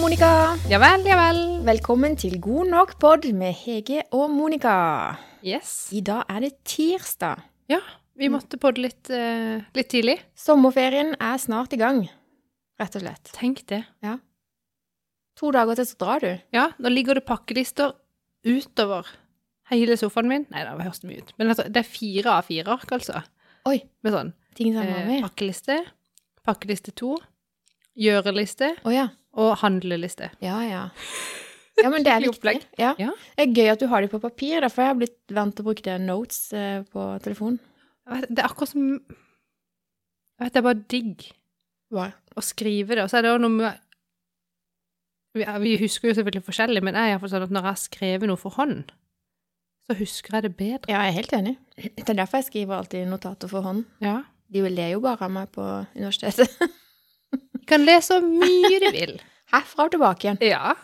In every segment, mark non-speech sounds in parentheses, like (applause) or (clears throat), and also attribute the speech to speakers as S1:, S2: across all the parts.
S1: Monica.
S2: Ja vel, ja vel.
S1: Velkommen til God nok pod med Hege og Monica.
S2: Yes.
S1: I dag er det tirsdag.
S2: Ja, vi måtte podde litt, eh, litt tidlig.
S1: Sommerferien er snart i gang, rett og slett.
S2: Tenk det.
S1: To dager til så drar du.
S2: Ja, nå ligger det pakkelister utover hele sofaen min. Nei, det har hørt mye ut. Men altså, det er fire av fire ark, altså.
S1: Oi,
S2: Med sånn
S1: ting som er
S2: eh,
S1: med.
S2: pakkeliste, pakkeliste to, gjøreliste
S1: Å ja.
S2: og handleliste.
S1: Ja, ja. Ja, men det er (laughs)
S2: Skikkelig
S1: viktig.
S2: opplegg.
S1: Ja.
S2: Ja.
S1: Det er gøy at du har det på papir, derfor har jeg blitt vant til å bruke det notes eh, på telefonen.
S2: Jeg vet- Det er akkurat som Jeg vet, det er bare digg
S1: Hva?
S2: å skrive det. Og så er det jo noe med vi, ja, vi husker jo selvfølgelig forskjellig, men jeg er iallfall sånn at når jeg har skrevet noe for hånd, så husker jeg det bedre.
S1: Ja, jeg er helt enig. Det er derfor jeg skriver alltid notater for hånd.
S2: Ja.
S1: De ler jo bare av meg på universitetet. (laughs)
S2: Du kan le så mye du vil.
S1: Herfra og tilbake igjen.
S2: (laughs) Ja.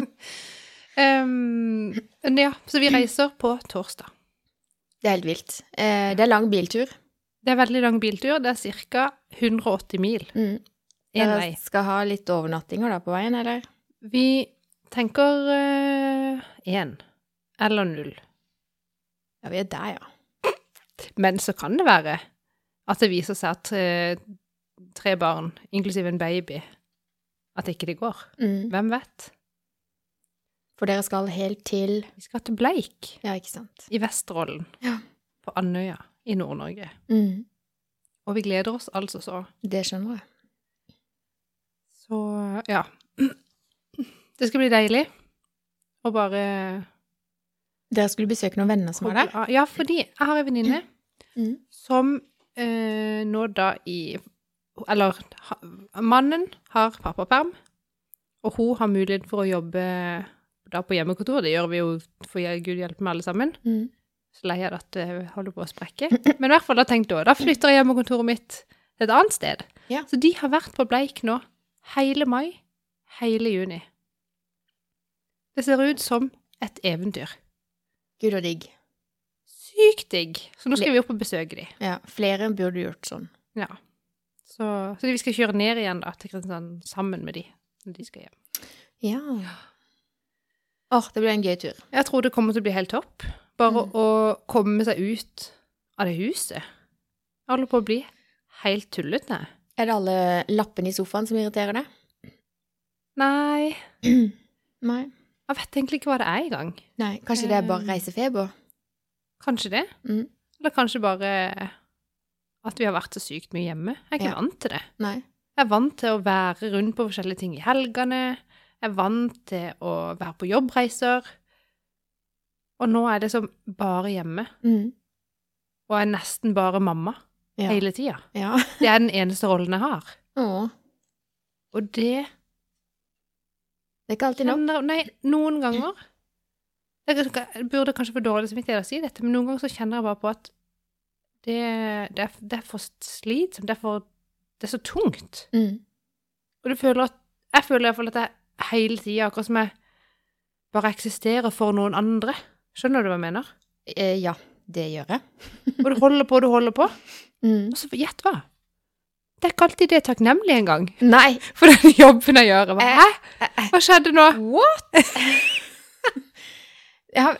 S2: (laughs) um, men ja, så vi reiser på torsdag.
S1: Det er helt vilt. Eh, det er lang biltur.
S2: Det er veldig lang biltur. Det er ca. 180 mil
S1: Mm.
S2: én
S1: Dere
S2: vei.
S1: skal ha litt overnattinger da på veien, eller?
S2: Vi tenker én eller null.
S1: Ja, vi er der, ja.
S2: Men så kan det være at det viser seg at eh, tre barn, inklusiv en baby, at ikke det går.
S1: Mm.
S2: Hvem vet?
S1: For dere skal helt til
S2: Vi skal til Bleik
S1: Ja, ikke sant.
S2: i Vesterålen,
S1: Ja.
S2: på Andøya i Nord-Norge.
S1: Mm.
S2: Og vi gleder oss altså så.
S1: Det skjønner jeg.
S2: Så ja. Det skal bli deilig å bare
S1: Dere skulle besøke noen venner som er der?
S2: Ja, fordi jeg har en venninne
S1: Mm.
S2: som eh, nå da i Eller ha, mannen har pappaperm, og hun har mulighet for å jobbe da på hjemmekontor. Det gjør vi jo for jeg- gud hjelpe meg alle sammen.
S1: Mm.
S2: Så lei av at det holder på å sprekke. Men i hvert fall, da tenkte hun, da flytter jeg hjemmekontoret mitt til et annet sted.
S1: Ja.
S2: Så de har vært på Bleik nå hele mai, hele juni. Det ser ut som et eventyr.
S1: Gud og digg.
S2: Sykt digg. Så nå skal vi opp og besøke de.
S1: Ja, flere burde gjort sånn.
S2: Ja. Så, så vi skal kjøre ned igjen da, til Kristiansand sammen med de når de skal hjem.
S1: Ja. Åh, det blir en gøy tur.
S2: Jeg tror det kommer til å bli helt topp. Bare å komme seg ut av det huset. Jeg holder på å bli helt tullete.
S1: Er det alle lappene i sofaen som irriterer deg?
S2: Nei,
S1: (clears throat) Nei.
S2: jeg vet egentlig ikke hva det er i gang.
S1: Nei, kanskje det er bare
S2: Eh.
S1: reisefeber?
S2: Kanskje det?
S1: Mm.
S2: Eller kanskje bare at vi har vært så sykt mye hjemme. Jeg er ikke
S1: Ja.
S2: vant til det.
S1: Nei.
S2: Jeg er vant til å være rundt på forskjellige ting i helgene. Jeg er vant til å være på jobbreiser. Og nå er det som bare hjemme,
S1: Mm.
S2: og jeg er nesten bare mamma
S1: Ja.
S2: hele tida.
S1: ja. (laughs)
S2: Det er den eneste rollen jeg har.
S1: Åh,
S2: Og det
S1: det er ikke alltid nok.
S2: kjenner Nei, noen ganger Jeg jeg burde kanskje få dårlig samvittighet av å si dette, men noen ganger så kjenner jeg bare på at det, det, er, det er for slitsomt. Det er for Det er så tungt.
S1: Mm.
S2: Og du føler at Jeg føler iallfall at jeg hele tida akkurat som jeg bare eksisterer for noen andre. Skjønner du hva jeg mener?
S1: Eh, ja, det gjør jeg.
S2: Og du holder på og du holder på,
S1: Mm.
S2: og så gjett hva? Det er ikke alltid det er takknemlig engang
S1: Nei!
S2: for den (laughs) jobben jeg gjør. Jeg bare,
S1: Eh,
S2: Hæ? Hva skjedde nå?
S1: What?! Jeg har,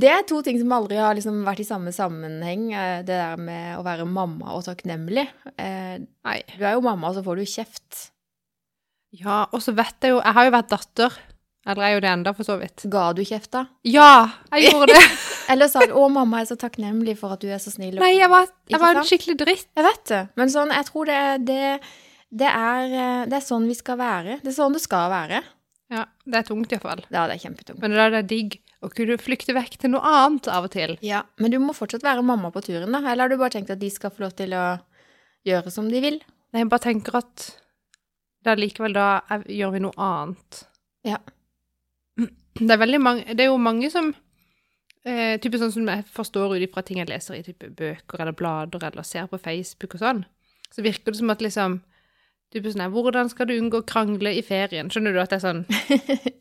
S1: det er to ting som aldri har liksom vært i samme sammenheng. eh, Det der med å være mamma og takknemlig. Eh,
S2: Nei.
S1: Du er jo mamma, og så får du kjeft.
S2: Ja, og så vet jeg jo Jeg har jo vært datter. Eller jeg er jo det enda, for så vidt.
S1: Ga du kjeft da?
S2: Ja, (laughs) jeg gjorde det.
S1: Eller sa du 'Å, mamma er så takknemlig for at du er så snill'? og-
S2: Nei, jeg var,
S1: Ikke
S2: jeg var en
S1: sant?
S2: skikkelig dritt.
S1: Jeg vet det. Men sånn, jeg tror det, er- det, det, er, eh, det er sånn vi skal være. Det er sånn det skal være.
S2: Ja, det er tungt iallfall.
S1: Ja, det er kjempetungt.
S2: Men da er det digg å kunne flykte vekk til noe annet av og til.
S1: Ja, men du må fortsatt være mamma på turen, da? Eller har du bare tenkt at de skal få lov til å gjøre som de vil?
S2: Nei, jeg bare tenker at da likevel da er, gjør vi noe annet.
S1: Ja.
S2: Det er, veldig mange, det er jo mange som eh, typisk sånn som jeg forstår ut ifra ting jeg leser i type bøker eller blader eller ser på Facebook og sånn, så virker det som at liksom typisk sånn her, Hvordan skal du unngå krangle i ferien? Skjønner du at det er sånn,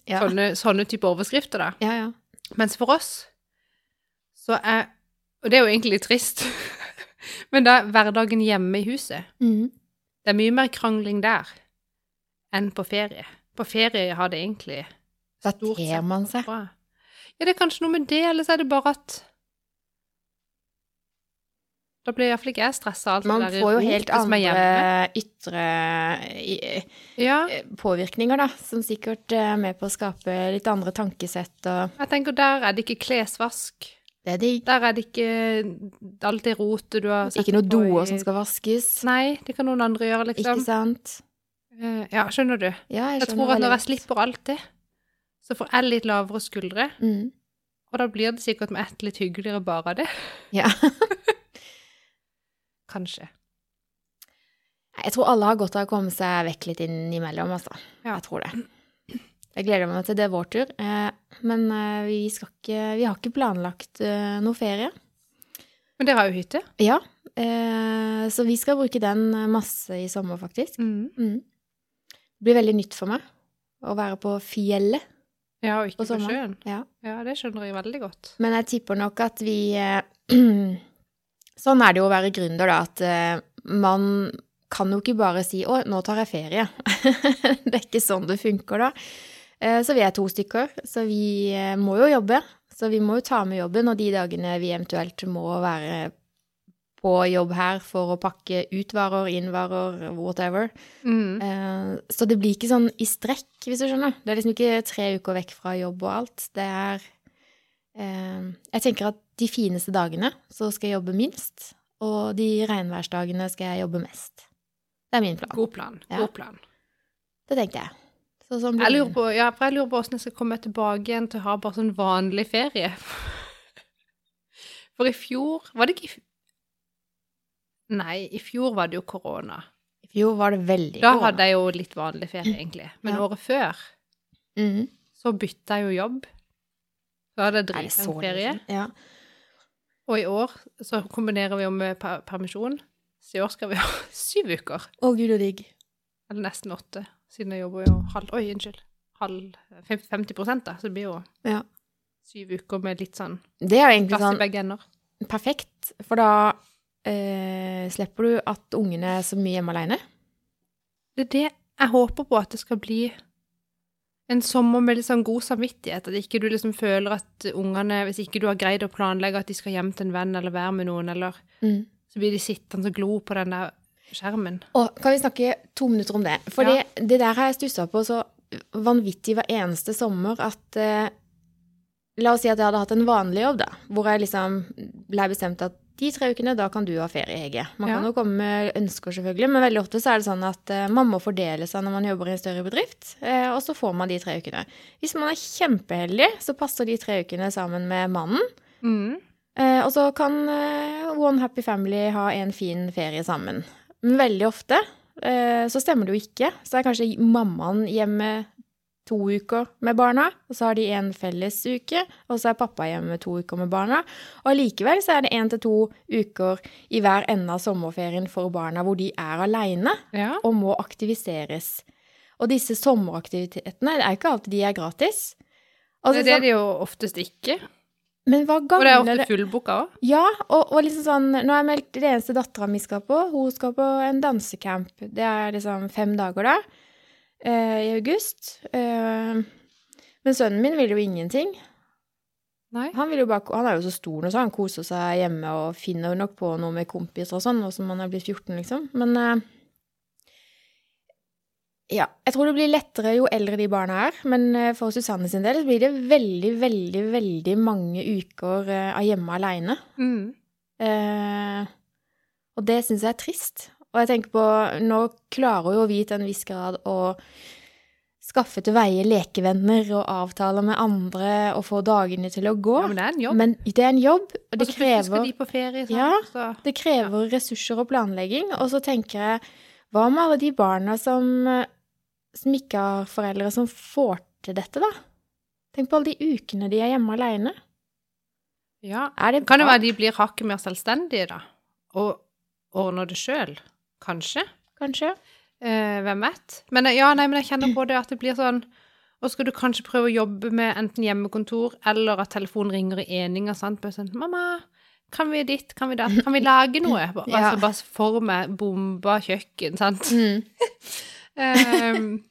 S1: Ja.
S2: sånne, sånne type overskrifter, da?
S1: Ja, ja.
S2: Mens for oss så er Og det er jo egentlig litt trist, (laughs) men da er hverdagen hjemme i huset.
S1: Mhm.
S2: Det er mye mer krangling der enn på ferie. på ferie har det egentlig
S1: Da
S2: stort
S1: ter
S2: sett
S1: man seg.
S2: bra. Ja, det er kanskje noe med det, eller så er det bare at Da blir iallfall ikke jeg stressa av alt
S1: Man
S2: det der
S1: får jo
S2: rotet
S1: helt
S2: som er hjemme.
S1: andre ytre i-
S2: Ja,
S1: eh, påvirkninger, da, som sikkert eh, er med på å skape litt andre tankesett og
S2: jeg tenker der er det ikke klesvask.
S1: Det er digg.
S2: Der er det ikke alt det rotet du har
S1: Ikke noen doer som skal vaskes.
S2: Nei, det kan noen andre gjøre,
S1: Ikke
S2: liksom.
S1: sant?
S2: Eh, Ja, skjønner du.
S1: Ja, jeg
S2: Jeg
S1: skjønner
S2: tror at når
S1: veldig
S2: jeg
S1: godt.
S2: slipper alt det, så får jeg litt lavere skuldre,
S1: Mm.
S2: og da blir det sikkert med ett litt hyggeligere bare av det.
S1: Ja. (laughs)
S2: Kanskje.
S1: Jeg tror alle har godt av å komme seg vekk litt innimellom, altså.
S2: Ja.
S1: Jeg tror det. Jeg gleder meg til det er vår tur. eh, Men eh, vi, skal ikke, vi har ikke planlagt eh, noe ferie.
S2: Men dere har jo hytte.
S1: Ja, eh, så vi skal bruke den eh, masse i sommer, faktisk. Mm. Det blir veldig nytt for meg å være på fjellet.
S2: Ja, og ikke
S1: På
S2: på
S1: sommeren.
S2: sjøen.
S1: Ja.
S2: Ja, det skjønner jeg veldig godt.
S1: Men jeg tipper nok at vi eh, (clears throat) Sånn er det jo å være gründer, da, at eh, man kan jo ikke bare si 'Å, nå tar jeg ferie'. (laughs) det er ikke sånn det funker, da. Eh, Så vi er to stykker, så vi eh, må jo jobbe. Så vi må jo ta med jobben, og de dagene vi eventuelt må være på jobb her for å pakke ut varer, inn varer, whatever.
S2: Mm.
S1: Eh, Så det blir ikke sånn i strekk, hvis du skjønner. Det er liksom ikke tre uker vekk fra jobb og alt. Det er eh, Jeg tenker at de fineste dagene så skal jeg jobbe minst, og de regnværsdagene skal jeg jobbe mest. Det er min plan.
S2: Eh, God plan.
S1: Ja.
S2: God plan.
S1: Det tenkte jeg. Så sånn blir
S2: Jeg lurer
S1: det.
S2: på, ja, for jeg lurer på hvordan jeg skal komme tilbake igjen til å ha bare sånn vanlig ferie. For i fjor Var det ikke i f- Nei, i fjor var det jo korona.
S1: I fjor var det veldig
S2: Da hadde jeg jo litt vanlig ferie, egentlig. Men
S1: Ja.
S2: året før
S1: Mhm.
S2: så bytta jeg jo jobb. Da hadde jeg
S1: Er det så
S2: dritlang ferie.
S1: lenge siden? Ja.
S2: Og i år så kombinerer vi jo med per permisjon. Så i år skal vi ha (laughs) syv uker.
S1: Å, gud og digg.
S2: Eller nesten åtte, siden jeg jobber jo halv Oi, unnskyld. Halv fem- 50 da. Så det blir jo
S1: Ja.
S2: syv uker med litt sånn
S1: Det er jo egentlig
S2: plass i
S1: sånn
S2: begge ender.
S1: perfekt, for da eh, slipper du at ungene er så mye hjemme alene.
S2: Det er det jeg håper på, at det skal bli en sommer med litt sånn god samvittighet. At ikke du liksom føler at ungene Hvis ikke du har greid å planlegge at de skal hjem til en venn eller være med noen, eller
S1: Mm.
S2: så blir de sittende og glo på den der skjermen.
S1: Og kan vi snakke to minutter om det? For
S2: Ja.
S1: det, det der har jeg stussa på så vanvittig hver eneste sommer at eh, La oss si at jeg hadde hatt en vanlig jobb, da, hvor jeg liksom ble bestemt at de tre ukene, da kan du ha ferie, Hege. Man
S2: Ja.
S1: kan jo komme med ønsker, selvfølgelig, men veldig ofte så er det sånn at eh, man må fordele seg når man jobber i en større bedrift, eh, og så får man de tre ukene. Hvis man er kjempeheldig, så passer de tre ukene sammen med mannen.
S2: Mm.
S1: Eh, og så kan eh, One Happy Family ha en fin ferie sammen. Men veldig ofte eh, så stemmer det jo ikke. Så er kanskje mammaen hjemme to uker med barna, og så har de en felles uke, og så er pappa hjemme to uker med barna. Og allikevel så er det én til to uker i hver ende av sommerferien for barna hvor de er aleine
S2: Ja.
S1: og må aktiviseres. Og disse sommeraktivitetene det er jo ikke alltid de er gratis. Altså,
S2: Nei, det er det jo oftest ikke.
S1: sånn- men hva
S2: Og det er
S1: gagner
S2: ofte fullbooka òg.
S1: ja, og, og liksom sånn Nå har jeg meldt det eneste dattera mi skal på. Hun skal på en dansecamp. Det er liksom fem dager da, eh, i august. Eh, men sønnen min vil jo ingenting.
S2: Nei.
S1: Han, vil jo bare, han er jo så stor nå, så han koser seg hjemme og finner jo nok på noe med kompiser og sånn, nå som han er blitt 14, liksom. Men eh, ja, jeg tror det blir lettere jo eldre de barna er, men eh, for Susanne sin del så blir det veldig, veldig, veldig mange uker eh, av hjemme aleine.
S2: Mm.
S1: Eh, og det syns jeg er trist. Og jeg tenker på, nå klarer jo vi til en viss grad å skaffe til veie lekevenner og avtaler med andre og få dagene til å gå.
S2: Ja, men det er en jobb.
S1: men det er en jobb, Altså, og
S2: Og
S1: det
S2: så plutselig skal
S1: krever,
S2: de på ferie, sant?
S1: Ja.
S2: så
S1: det krever ressurser og planlegging. Og så tenker jeg, hva med alle de barna som, eh, som ikke har foreldre som får til dette, da? Tenk på alle de ukene de er hjemme aleine.
S2: ja.
S1: Er det
S2: Kan det
S1: bra?
S2: være de blir hakket mer selvstendige, da? Og ordner det sjøl? Kanskje?
S1: Kanskje?
S2: Eh, hvem vet? Men, jeg- ja, nei, men jeg kjenner på det at det blir sånn Og skal du kanskje prøve å jobbe med enten hjemmekontor eller at telefonen ringer i eninga, sant? Bare sånn 'Mamma, kan vi ditt? Kan vi datt? Kan vi lage (laughs) noe?' Bare,
S1: Ja.
S2: altså, bare for meg bomba kjøkken, sant?
S1: Mm.
S2: Ehm,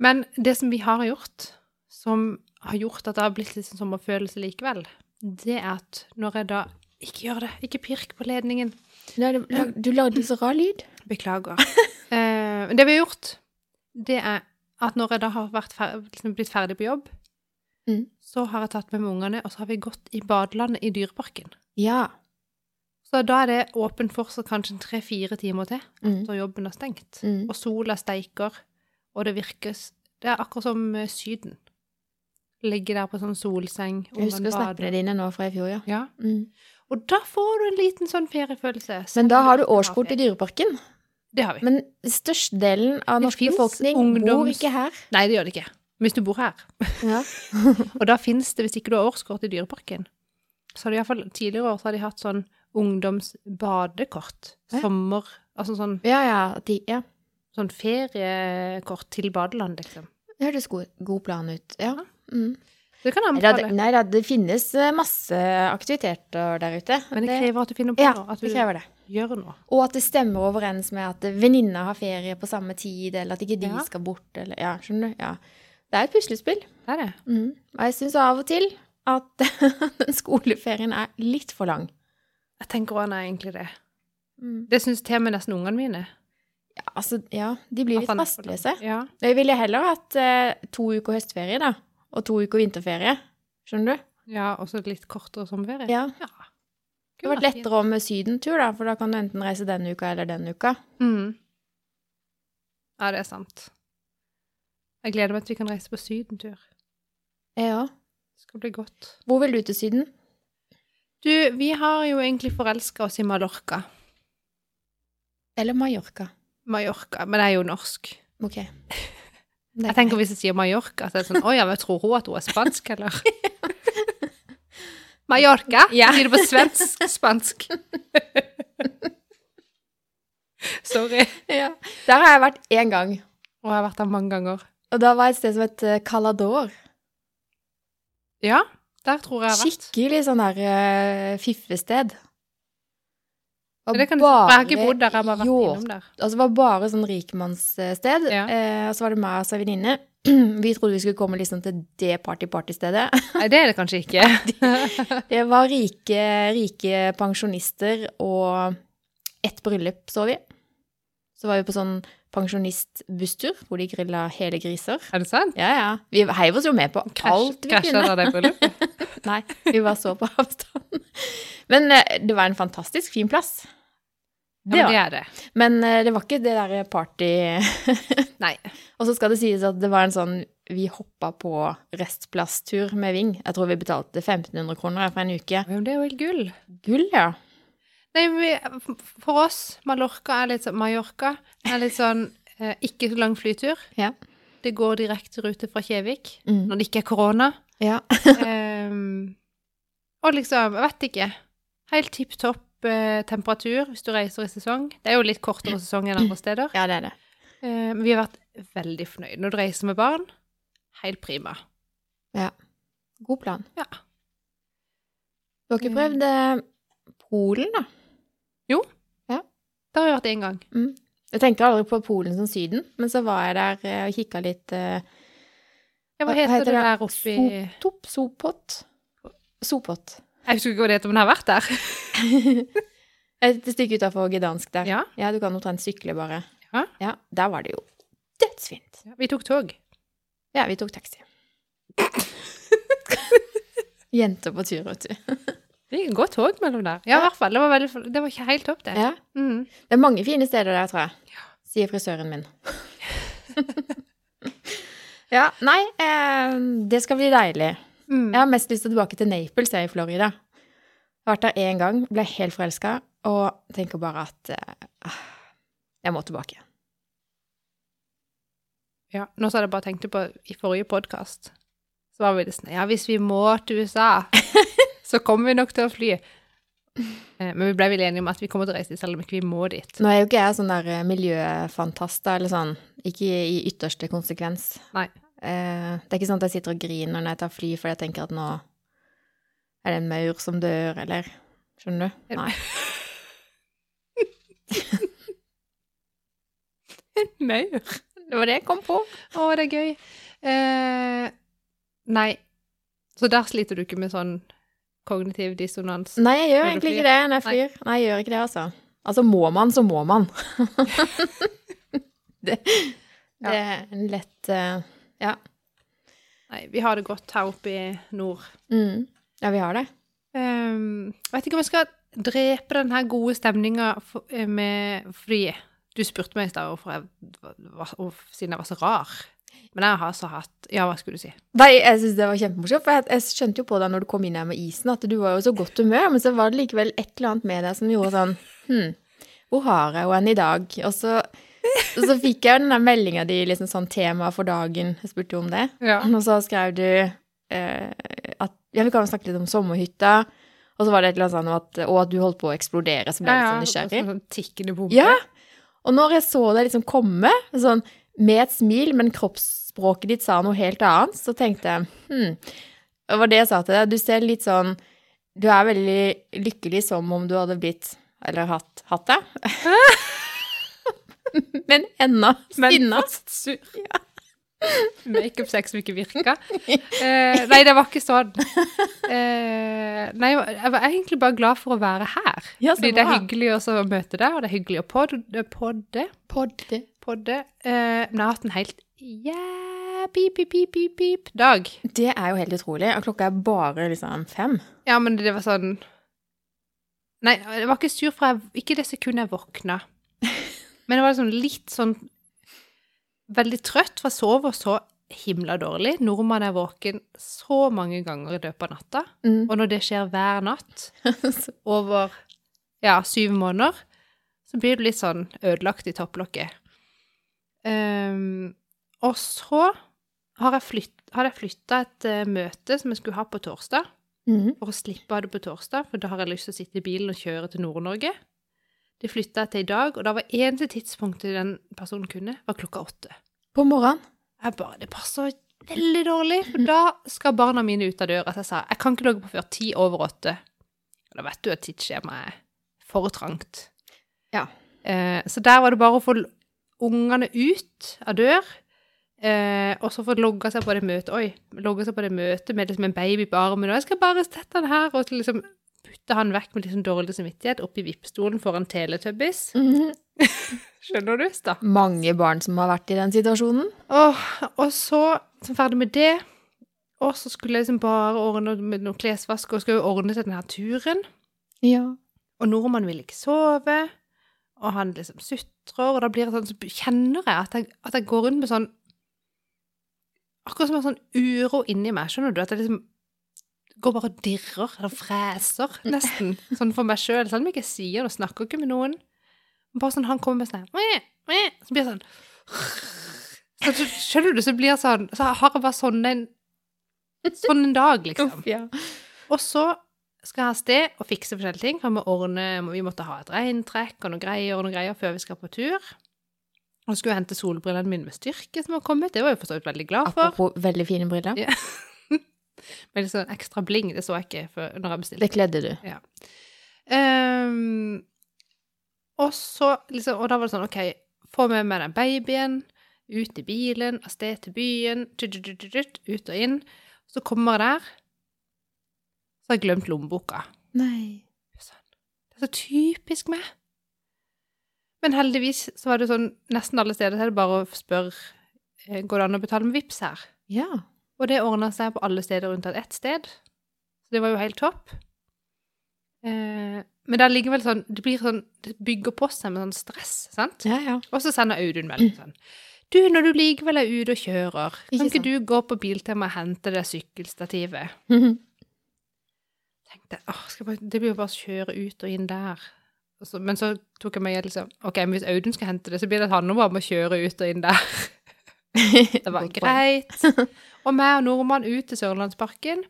S2: Men det som vi har gjort, som har gjort at det har blitt litt sånn sommerfølelse likevel, det er at når jeg da ikke gjør det, ikke pirk på ledningen,
S1: Du lagde så rar lyd.
S2: beklager. Eh, men det vi har gjort, det er at når jeg da har vært fer liksom blitt ferdig på jobb,
S1: Mm.
S2: så har jeg tatt med meg ungene, og så har vi gått i badelandet i dyreparken.
S1: Ja.
S2: Så da er det åpent fortsatt kanskje en tre-fire timer til,
S1: Mm.
S2: så jobben er stengt.
S1: Mm.
S2: Og sola steiker, og det virker s- Det er akkurat som eh, Syden. Ligge der på sånn solseng.
S1: Jeg husker snappene dine nå fra i fjor, ja.
S2: Ja.
S1: Mm.
S2: Og da får du en liten sånn feriefølelse.
S1: Men da har du årskort i Dyreparken.
S2: Det har vi.
S1: Men størstedelen av
S2: Det
S1: norsk
S2: finnes
S1: befolkning bor
S2: ungdoms-
S1: ikke her.
S2: Nei, det gjør det ikke. Hvis du bor her.
S1: Ja.
S2: Og da fins det, hvis ikke du har årskort i Dyreparken Så har de iallfall tidligere år så har de hatt sånn ungdomsbadekort.
S1: Ja.
S2: Sommer Altså sånn,
S1: Ja, ja. De, ja.
S2: sånn feriekort til badeland, liksom.
S1: Det høres god, god plan ut. Ja. Mm.
S2: Det kan jeg
S1: Nei, da,
S2: anbefale.
S1: nei da, det finnes eh, masse aktiviteter der ute.
S2: Men det krever at du finner på
S1: ja,
S2: noe. At
S1: det
S2: du
S1: krever det.
S2: gjør noe.
S1: Og at det stemmer overens med at venninner har ferie på samme tid, eller at ikke de
S2: Ja.
S1: skal bort, eller Ja, skjønner du? Ja. Det er et puslespill.
S2: Det er det.
S1: Mm. Og jeg syns av og til at (laughs) den skoleferien er litt for lang.
S2: Jeg tenker òg nei, egentlig det.
S1: Mm.
S2: Det syns til og med nesten ungene mine.
S1: Ja, altså, ja, de blir
S2: At
S1: litt
S2: han er for lang.
S1: rastløse.
S2: Ja.
S1: Jeg ville heller hatt eh, to uker høstferie, da, og to uker vinterferie. Skjønner du?
S2: ja, og så litt kortere sommerferie.
S1: Ja.
S2: ja.
S1: Det hadde vært lettere om med sydentur, da, for da kan du enten reise denne uka eller den uka.
S2: Mm. Ja, det er sant. Jeg gleder meg til vi kan reise på sydentur.
S1: Ja.
S2: Det skal bli godt.
S1: Hvor vil du til Syden?
S2: Du, vi har jo egentlig forelska oss i Mallorca.
S1: Eller Mallorca?
S2: Mallorca, men jeg er jo norsk.
S1: Ok.
S2: Jeg tenker hvis jeg sier Mallorca, så er det sånn Å ja, men tror hun at hun er spansk,
S1: (laughs)
S2: eller? Mallorca?
S1: Ja.
S2: Sier det på
S1: (laughs)
S2: svensk? Spansk. Sorry.
S1: (laughs) ja. Der har jeg vært én gang.
S2: Og jeg har vært der mange ganger.
S1: Og da var jeg et sted som het eh, Calador.
S2: Ja, der tror jeg jeg har vært.
S1: Skikkelig sånn der eh, fiffested. Og
S2: Men det kan du, jeg har ikke bodd der, jeg har bare vært
S1: hjort-
S2: innom der.
S1: Altså, det var bare sånn rikmannssted.
S2: Ja.
S1: Eh, og så var det meg og så en venninne. (clears throat) Vi trodde vi skulle komme liksom til det party-party-stedet. (laughs)
S2: Nei, det er det kanskje ikke.
S1: Det var rike, rike pensjonister og ett bryllup, så vi. Så var vi på sånn pensjonistbusstur, hvor de grilla hele griser.
S2: Er det sant?
S1: Ja, ja. Vi heiv oss jo med på alt vi
S2: Krasja
S1: kunne.
S2: dere det bryllupet?
S1: (laughs) Nei, vi bare så på (laughs) avstand. Men eh, det var en fantastisk fin plass. Det
S2: Ja, men det
S1: var.
S2: er det.
S1: Men eh, det var ikke det derre party (laughs)
S2: Nei.
S1: Og så skal det sies at det var en sånn Vi hoppa på restplasstur med Ving. Jeg tror vi betalte 1500 kroner her for en uke.
S2: Men det er jo helt gull.
S1: Gull, ja.
S2: Nei, vi, for oss, Mallorca er litt sånn Mallorca er litt sånn eh, ikke så lang flytur.
S1: Ja.
S2: Det går direkte rute fra Kjevik
S1: Mm.
S2: når det ikke er korona.
S1: ja.
S2: Ehm, og liksom, jeg vet ikke. Helt tipp topp eh, temperatur hvis du reiser i sesong. Det er jo litt kortere sesong enn andre steder.
S1: Ja, det er det.
S2: Eh, men vi har vært veldig fornøyd. Når du reiser med barn, helt prima.
S1: God plan.
S2: Ja. Mm.
S1: Du har ikke prøvd eh, Polen, da?
S2: Det har vi vært én gang.
S1: Jeg tenker aldri på Polen som Syden, men så var jeg der eh, og kikka litt eh,
S2: Ja, hva
S1: Hva-
S2: heter,
S1: hva heter
S2: det
S1: det?
S2: der oppe i
S1: Sop- Topp Sopot. Sopot.
S2: Jeg husker ikke hva det heter, men jeg har vært der.
S1: Et stykke utafor Gdansk der.
S2: Ja.
S1: du kan omtrent sykle, bare.
S2: Ja.
S1: Der var det jo dødsfint.
S2: Vi tok tog.
S1: Ja, vi tok (laughs) taxi. Jenter på tur, vet du.
S2: Det gikk godt tog mellom der. Ja, i hvert fall. Det var, veldig, det var ikke helt topp, det.
S1: Ja.
S2: Mm.
S1: Det er mange fine steder der, tror jeg. Sier frisøren min. (laughs) ja, nei, eh, det skal bli deilig.
S2: Mm.
S1: Jeg har mest lyst til tilbake til Naples, jeg, i Florida. Jeg har vært der én gang, ble helt forelska, og tenker bare at eh, jeg må tilbake.
S2: Ja, Nå så hadde jeg bare tenkt på i forrige podkast. Så var vi litt sånn Ja, hvis vi må til USA, (laughs) så kommer vi nok til å fly. Eh, Men vi ble vel enige om at vi kommer til å reise dit, selv om ikke vi må dit.
S1: Nå er jo ikke jeg sånn der eh, miljøfantast, da, eller sånn. Ikke i i ytterste konsekvens.
S2: Nei.
S1: Eh, det er ikke sånn at jeg sitter og griner når jeg tar fly fordi jeg tenker at nå er det en maur som dør, eller Skjønner du? Nei.
S2: Maur.
S1: Det var det jeg kom på.
S2: Å, det er gøy. Eh, nei. Så der sliter du ikke med sånn kognitiv dissonans.
S1: Nei, jeg
S2: Når
S1: gjør
S2: du
S1: egentlig
S2: flyr?
S1: ikke det når jeg flyr. Nei, jeg gjør ikke det, altså. Altså, må man, så må man. (laughs) det,
S2: Ja.
S1: det er en lett eh, Ja.
S2: Nei, vi har det godt her oppe i nord.
S1: Mm. Ja, vi har det.
S2: Um, vet ikke om jeg skal drepe den her gode stemninga for, eh, med Fordi du spurte meg i stad hvorfor jeg var, og, siden jeg var så rar. Men jeg har så hatt Ja, hva skulle du si?
S1: Nei, jeg syns det var kjempemorsomt. For jeg, jeg skjønte jo på deg når du kom inn her med isen, at du var jo så godt humør, men så var det likevel et eller annet med deg som gjorde sånn Hm, hvor har jeg henne i dag? Og så, og så fikk jeg jo den der meldinga di, liksom sånn tema for dagen. Jeg spurte jo om det.
S2: Ja.
S1: Og så skrev du eh, at Ja, vi kan jo snakke litt om sommerhytta. Og så var det et eller annet sånn om at Og at du holdt på å eksplodere, så ble jeg litt sånn nysgjerrig.
S2: Sånn, sånn tikkende bombe.
S1: Ja. Og når jeg så deg liksom komme, sånn med et smil, men kroppsspråket ditt sa noe helt annet, så tenkte jeg hm. Det var det jeg sa til deg. Du ser litt sånn Du er veldig lykkelig som om du hadde blitt Eller hatt, hatt det. (laughs) men ennå
S2: Men
S1: sinna.
S2: fast sur. Makeup-sex som ikke virka. Eh, nei, det var ikke sånn. Eh, nei, jeg var- jeg var egentlig bare glad for å være her.
S1: Ja, så
S2: Fordi det er
S1: bra.
S2: hyggelig også å møte deg, og det er hyggelig å podde. podde.
S1: Podde.
S2: podde. Eh, men jeg har hatt en helt yeah, pip, pip, pip, pip, pip dag.
S1: Det er jo helt utrolig. Og klokka er bare liksom fem.
S2: Ja, men det var sånn Nei, jeg var ikke sur, for jeg, ikke det sekundet jeg våkna. Men jeg var liksom litt sånn Veldig trøtt, for jeg sover så himla dårlig. Nordmann er våken så mange ganger i løpet av natta.
S1: Mm. (laughs)
S2: Og når det skjer hver natt over ja, syv måneder, så blir du litt sånn ødelagt i topplokket. Ehm, og så har jeg, flytt, har jeg flytta et eh, møte som jeg skulle ha på torsdag,
S1: Mm.
S2: for å slippe å ha det på torsdag, for da har jeg lyst til å sitte i bilen og kjøre til Nord-Norge. Det flytta jeg til i dag, og da var eneste tidspunktet den personen kunne, var klokka åtte.
S1: På morgenen.
S2: Jeg bare, Det passer veldig dårlig, for da skal barna mine ut av døra. Så jeg sa jeg kan ikke logge på før ti over åtte. Og da vet du at tidsskjemaet er for trangt.
S1: Ja.
S2: Eh, så der var det bare å få l- ungene ut av dør, eh, og så få logga seg på det møtet Oi, logga seg på det møtet med liksom en baby på armen, og jeg skal bare sette han her, og liksom putte han vekk med liksom dårlig samvittighet oppi vippstolen foran Teletubbies.
S1: Mhm.
S2: Skjønner du? Stakkar.
S1: Mange barn som har vært i den situasjonen.
S2: Åh, og så, så ferdig med det, og så skulle jeg liksom bare ordne med noen klesvask, og skulle jo ordne til denne turen.
S1: (laughs) Ja.
S2: Og nordmannen vil ikke sove, og han liksom sutrer, og da blir det sånn, så kjenner jeg at jeg, at jeg går rundt med sånn Akkurat som en sånn uro inni meg, skjønner du? At jeg liksom går bare og dirrer, eller freser, nesten. Sånn for meg sjøl, selv om jeg ikke sier det, og snakker ikke med noen. Men Bare sånn, han kommer med sånn her, «Mæ, mæ», Så blir jeg sånn så, så, Skjønner du, så blir jeg sånn Så har jeg bare sånn en Sånn en dag, liksom.
S1: Uff, ja.
S2: Og så skal jeg av sted og fikse forskjellige ting. for Vi, må ordne, vi måtte ha et regntrekk og noe greier og noe greier før vi skal på tur. Og så skulle jeg hente solbrillene mine med styrke som var kommet. Det var jeg for så vidt veldig glad for.
S1: Apropos veldig fine briller.
S2: Ja. Men litt sånn ekstra bling, det så jeg ikke før, når jeg bestilte.
S1: Det kledde du.
S2: Ehm, og så liksom, og da var det sånn, ok, få med meg den babyen, ut i bilen, av sted til byen, tut, tut, tut, tut, ut og inn. Så kommer jeg der, så har jeg glemt lommeboka.
S1: Nei.
S2: Sånn. Det er så typisk meg. Men heldigvis så var det sånn, nesten alle steder så er det bare å spørre, eh, går det an å betale med VIPs her?
S1: Ja.
S2: Og det ordna seg på alle steder unntatt ett sted. Så det var jo helt topp. Eh, men det er likevel sånn Det blir sånn, det bygger på seg med sånn stress, sant?
S1: Ja, ja.
S2: Og så sender Audun
S1: (clears throat)
S2: melding sånn Du, når du likevel er ute og kjører, kan
S1: Ikke
S2: ikke
S1: sant.
S2: du gå på Biltema og hente det sykkelstativet? tenkte jeg, åh, skal jeg bare, det blir jo bare å kjøre ut og inn der. Og Så, men så tok jeg meg i at liksom, ok, men hvis Audun skal hente det, så blir det at han bare må kjøre ut og inn der. (laughs) Det var
S1: Godt poeng.
S2: greit. Og meg og nordmann ut til Sørlandsparken.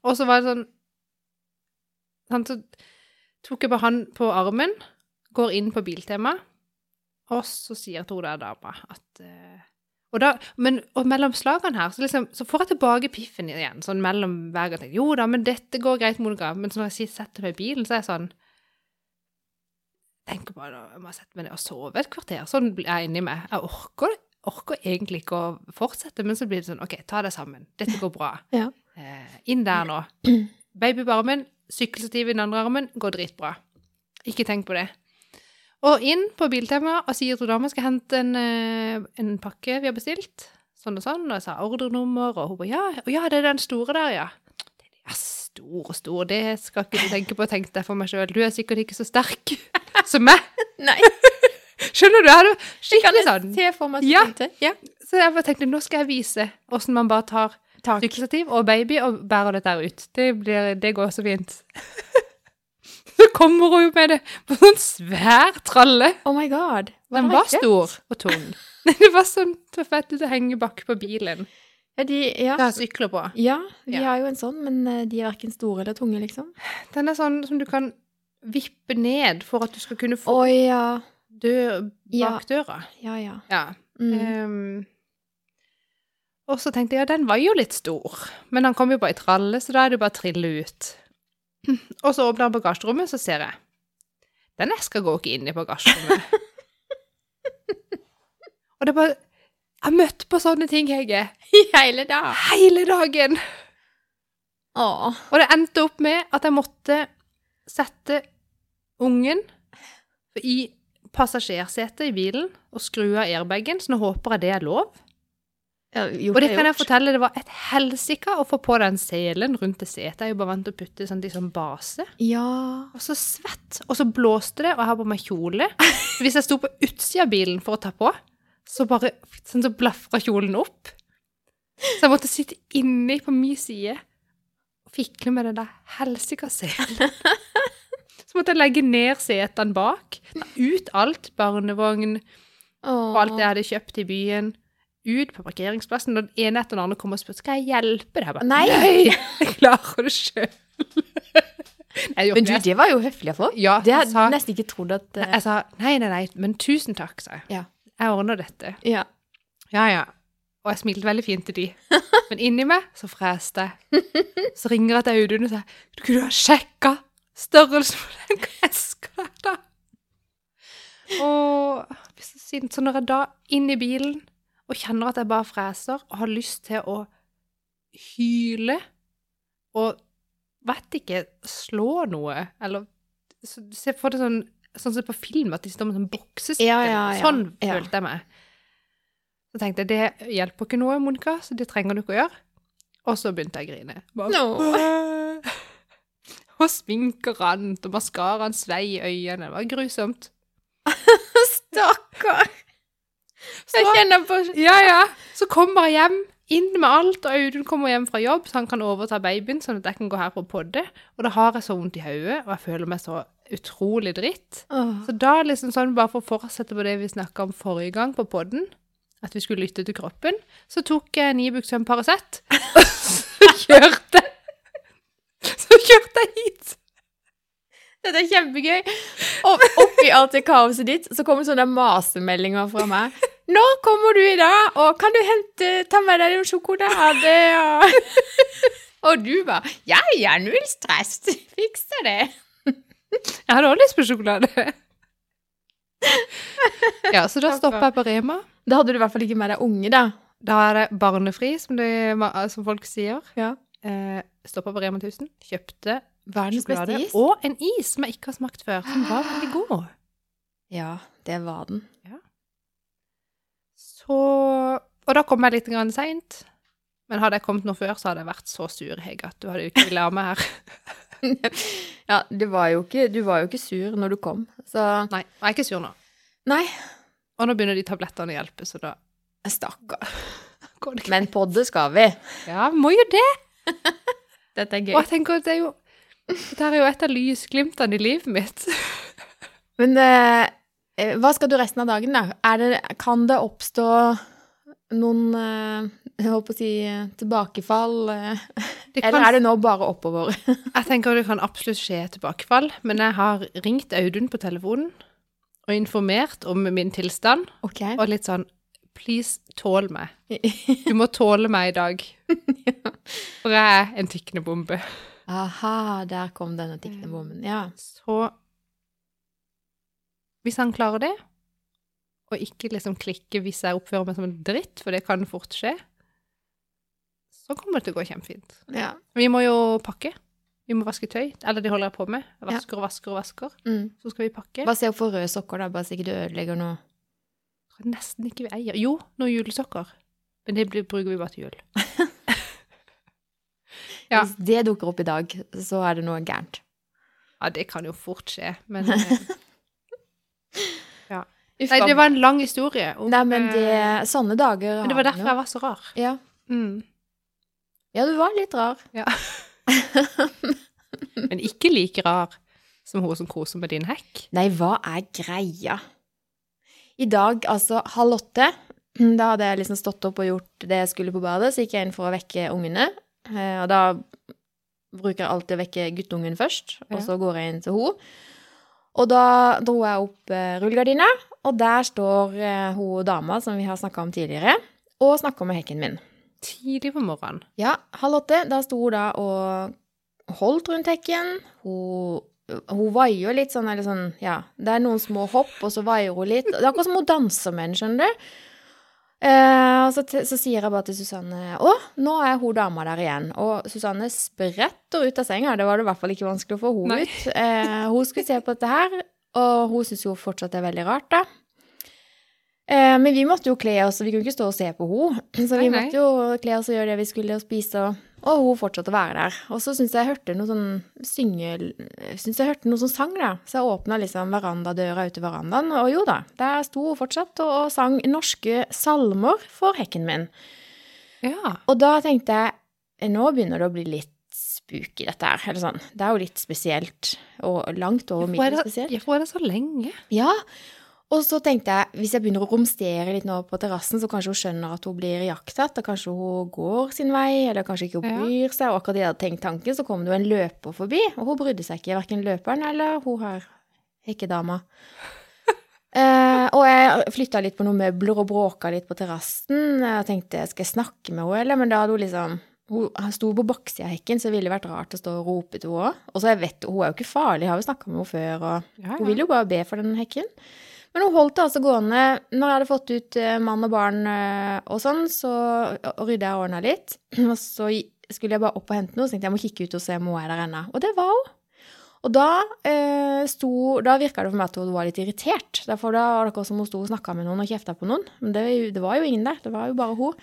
S2: Og så var det sånn, han så tok jeg bare han på armen, går inn på Biltema, og så sier to der dama at eh, og da, men, og mellom slagene her, så, liksom, så får jeg tilbake piffen igjen, sånn mellom hver gang. tenker, Jo da, men dette går greit, Monica. Men så når jeg sitter- setter meg i bilen, så er jeg sånn Tenker bare, nå må jeg sette meg ned og sove et kvarter. Sånn blir jeg inni meg. Jeg orker det. orker egentlig ikke å fortsette, men så blir det sånn OK, ta deg sammen. Dette går bra.
S1: Ja.
S2: Eh, inn der nå. Baby på armen, sykkelstativ i den andre armen, går dritbra. Ikke tenk på det. Og inn på Biltema og sier til dama skal jeg hente en, eh, en pakke vi har bestilt. Sånn og sånn. Og jeg sa ordrenummer, og hun bare ja, å ja, det er den store der, ja. Ja, stor og stor, det skal ikke du tenke på, tenkte jeg for meg sjøl. Du er sikkert ikke så sterk (laughs) som meg.
S1: Nei,
S2: (laughs) Skjønner du? Jeg hadde skikkelig
S1: jeg
S2: sånn.
S1: se for meg
S2: Ja.
S1: tenkte. Ja.
S2: Så jeg bare tenkte, nå skal jeg vise hvordan man bare tar
S1: Takk.
S2: sykkelstativ og baby og bærer dette her ut. Det, blir, det går så fint. (laughs) Så kommer hun jo med det på sånn svær tralle.
S1: Oh my god.
S2: Den
S1: det
S2: var
S1: ikke?
S2: stor og tung. (laughs) Det var sånn så fett ut å henge bak på bilen.
S1: Ja, de,
S2: Det
S1: ja.
S2: er sykler på.
S1: ja, vi
S2: Ja.
S1: har jo en sånn, men eh, de er verken store eller tunge, liksom.
S2: Den er sånn som du kan vippe ned for at du skal kunne
S1: Å
S2: få
S1: ja.
S2: dør
S1: Ja.
S2: bak døra.
S1: Ja, ja.
S2: Ja.
S1: Mm. (laughs)
S2: Ehm, og så tenkte jeg, ja, den var jo litt stor, men han kom jo bare i tralle, så da er det jo bare å trille ut. (clears throat) Og så åpner han bagasjerommet, så ser jeg. Den eska går ikke inn i bagasjerommet. og det er bare Jeg har møtt på sånne ting, Hege,
S1: Hele dag.
S2: hele dagen.
S1: Å.
S2: Og det endte opp med at jeg måtte sette ungen i passasjersetet i bilen og skru av airbagen, så nå håper jeg det er lov.
S1: Ja, gjort
S2: Og det
S1: er
S2: kan jeg
S1: gjort.
S2: fortelle, det var et helsike å få på den selen rundt det setet. Jeg er jo bare vant til å putte sånn i sånn base.
S1: Ja.
S2: Og så svett. Og så blåste det, og jeg har på meg kjole. Så hvis jeg sto på utsida av bilen for å ta på, så bare sånn så blafra kjolen opp. Så jeg måtte sitte inni på min side og fikle med den der helsika selen. Så måtte jeg legge ned setene bak. Ta ut alt. Barnevogn,
S1: Åh.
S2: og alt det jeg hadde kjøpt i byen, ut på parkeringsplassen. Og den ene etter den andre kom og spurte skal jeg hjelpe deg. Jeg bare,
S1: Nei.
S2: jeg klarer det (laughs) sjøl.
S1: Men du, det var jo høflig å få.
S2: ja,
S1: Det
S2: jeg,
S1: hadde
S2: sa,
S1: jeg nesten ikke trodd at eh,
S2: jeg sa nei, nei, nei, men tusen takk, sa jeg.
S1: Ja.
S2: Jeg ordner dette.
S1: Ja.
S2: Ja, ja. Og jeg smilte veldig fint til
S1: (laughs)
S2: de. Men inni meg så freste jeg. Så ringer jeg til Audun og sier Du kunne ha sjekka størrelsen på den eska da. Og jeg blir så sint. Så når jeg da inn i bilen og kjenner at jeg bare freser og har lyst til å hyle og vet ikke slå noe eller så Se for deg sånn, sånn som på film, at de står med sånn boksestikk.
S1: Ja, ja, ja.
S2: Sånn
S1: Ja.
S2: følte jeg meg. Så tenkte jeg det hjelper ikke noe, Monica, så det trenger du ikke å gjøre. Og så begynte jeg å grine. Bare, «Åh!» (laughs) Og sminker rant, og maskaraen svei i øynene. Det var grusomt.
S1: (laughs) Stakkar!
S2: Så,
S1: Jeg kjenner på
S2: ja, ja. så kommer jeg hjem, inn med alt, og Audun kommer hjem fra jobb, så han kan overta babyen, sånn at jeg kan gå her på podde. Og da har jeg så vondt i hodet, og jeg føler meg så utrolig dritt.
S1: Åh.
S2: Så da liksom sånn, bare for å fortsette på det vi snakka om forrige gang på podden, at vi skulle lytte til kroppen, så tok jeg en Ibux og en
S1: (laughs)
S2: Paracet, og så kjørte Så kjørte jeg hit.
S1: Dette er kjempegøy. Og oppi alt det kaoset ditt, så kommer sånne masemeldinger fra meg. Når kommer du i dag? Og kan du hente, ta med deg noe sjokolade? Og, (laughs) og du bare Ja, ja, null stress. Fikser det.
S2: Jeg hadde også lyst på sjokolade. Ja, så da stoppa jeg på Rema.
S1: Da hadde du i hvert fall ikke med deg unge, da.
S2: Da er det barnefri, som, det, som folk sier.
S1: Ja.
S2: Eh, Stoppa på Rema 1000, kjøpte
S1: Verdens beste
S2: sjokolade
S1: is.
S2: og en is som jeg ikke har smakt før, som var veldig god.
S1: Ja, det var den.
S2: Så Og da kom jeg litt grann seint. Men hadde jeg kommet noe før, så hadde jeg vært så sur, Hege, at du hadde jo ikke villet ha meg her.
S1: Ja, det var jo ikke, du var jo ikke sur når du kom, så
S2: Nei, jeg er ikke sur nå.
S1: Nei.
S2: Og nå begynner de tablettene å hjelpe, så da
S1: Stakkar.
S2: går det ikke.
S1: Men podde skal vi.
S2: Ja, må jo det!
S1: Dette er
S2: Og jeg tenker at det er jo Dette er jo et av lysglimtene i livet mitt. (laughs)
S1: Men eh, eh, hva skal du resten av dagen, da? Er det, kan det oppstå noen eh, jeg håper å si eh, tilbakefall? eh,
S2: Det kan
S1: eller er det nå bare oppover? (laughs)
S2: Jeg tenker det kan absolutt skje et tilbakefall, men jeg har ringt Audun på telefonen og informert om min tilstand,
S1: Ok.
S2: og litt sånn Please, tål meg. Du må tåle meg i dag. For jeg er en tikkende bombe.
S1: Aha, der kom denne tikkende bomben. Ja.
S2: Så hvis han klarer det, og ikke liksom klikke hvis jeg oppfører meg som en dritt, for det kan fort skje, så kommer det til å gå kjempefint.
S1: Ja.
S2: Vi må jo pakke. Vi må vaske tøy. Eller det holder jeg på med. Jeg vasker og vasker og vasker.
S1: Mm.
S2: Så skal vi pakke.
S1: Bare se opp for røde sokker, da, bare så ikke du ødelegger noe.
S2: Hva nesten ikke vi eier. Jo, noen julesokker. Men det blir, bruker vi
S1: (laughs)
S2: bare til jul. Ja.
S1: Hvis det dukker opp i dag, så er det noe gærent.
S2: Ja, det kan jo fort skje, men
S1: (laughs)
S2: eh,
S1: Uff,
S2: Nei, det var en lang historie. Om,
S1: Nei, men
S2: eh,
S1: det, sånne dager
S2: men det var derfor jeg var så rar.
S1: ja.
S2: Mm.
S1: ja, du var litt rar.
S2: Men ikke like rar som hun som koser med din hekk.
S1: Nei, hva er greia? I dag, altså halv åtte, da hadde jeg liksom stått opp og gjort det jeg skulle på badet, så gikk jeg inn for å vekke ungene. Eh, Og da bruker jeg alltid å vekke guttungen først, og
S2: Ja.
S1: så går jeg inn til hun. Og da dro jeg opp eh, rullegardina, og der står eh, hun dama som vi har snakka om tidligere, og snakker med hekken min.
S2: Tidlig på morgenen.
S1: Ja, halv åtte. Da sto hun da og holdt rundt hekken. Hun, hun vaier litt sånn, eller sånn, ja. Det er noen små hopp, og så vaier hun litt. Det er akkurat som hun danser med den, skjønner du. Eh, og så, t- så sier jeg bare til Susanne Å, nå er hun dama der igjen. Og Susanne spretter ut av senga. Det var det i hvert fall ikke vanskelig å få henne
S2: Nei.
S1: ut. Eh, hun skulle se på dette her, og hun syns jo fortsatt det er veldig rart, da. Eh, men vi måtte jo kle oss, så vi kunne ikke stå og se på henne. (clears throat) Så
S2: Nei,
S1: vi
S2: nei.
S1: måtte jo kle oss og gjøre det vi skulle, og spise, og, og hun fortsatte å være der. Og så syns jeg jeg hørte noe sånn synge... Syns jeg hørte noe sånn sang, da. Så jeg åpna liksom verandadøra ute i verandaen, og jo da, der sto hun fortsatt og, og sang norske salmer for hekken min.
S2: Ja.
S1: Og da tenkte jeg nå begynner det å bli litt spooky, dette her. Eller sånn. Det er jo litt spesielt, og langt over
S2: Hvorfor er
S1: middels
S2: det-
S1: spesielt.
S2: Hvorfor er det så lenge?
S1: Ja. Og så tenkte jeg, hvis jeg begynner å romstere litt nå på terrassen, så kanskje hun skjønner at hun blir jaktet, og kanskje hun går sin vei, eller kanskje ikke hun
S2: Ja.
S1: bryr seg. Og akkurat i jeg hadde tenkt tanken, så kom det jo en løper forbi, og hun brydde seg ikke, hverken løperen eller hun her, hekkedama. (laughs) Eh, og jeg flyttet litt på noen møbler og bråket litt på terrassen, og tenkte, skal jeg snakke med henne, eller? Men da hadde hun liksom, hun sto på baksida av hekken, så det ville vært rart å stå og rope til henne. også. Og så jeg vet, hun er jo ikke farlig, jeg har jo snakket med henne før, og...
S2: Ja,
S1: Hun vil jo bare be for den hekken. Men hun holdt det altså gående. Når jeg hadde fått ut eh, mann og barn eh, og sånn, så rydda jeg og ordna litt. (clears throat) Og så gi- skulle jeg bare opp og hente noe, så tenkte jeg jeg må kikke ut og se om hun er der ennå. Og det var hun. Og da, eh, sto- da virka det for meg at hun var litt irritert. Derfor da var det akkurat som hun sto og snakka med noen og kjefta på noen. Men det, det var jo ingen der. Det var jo bare hun.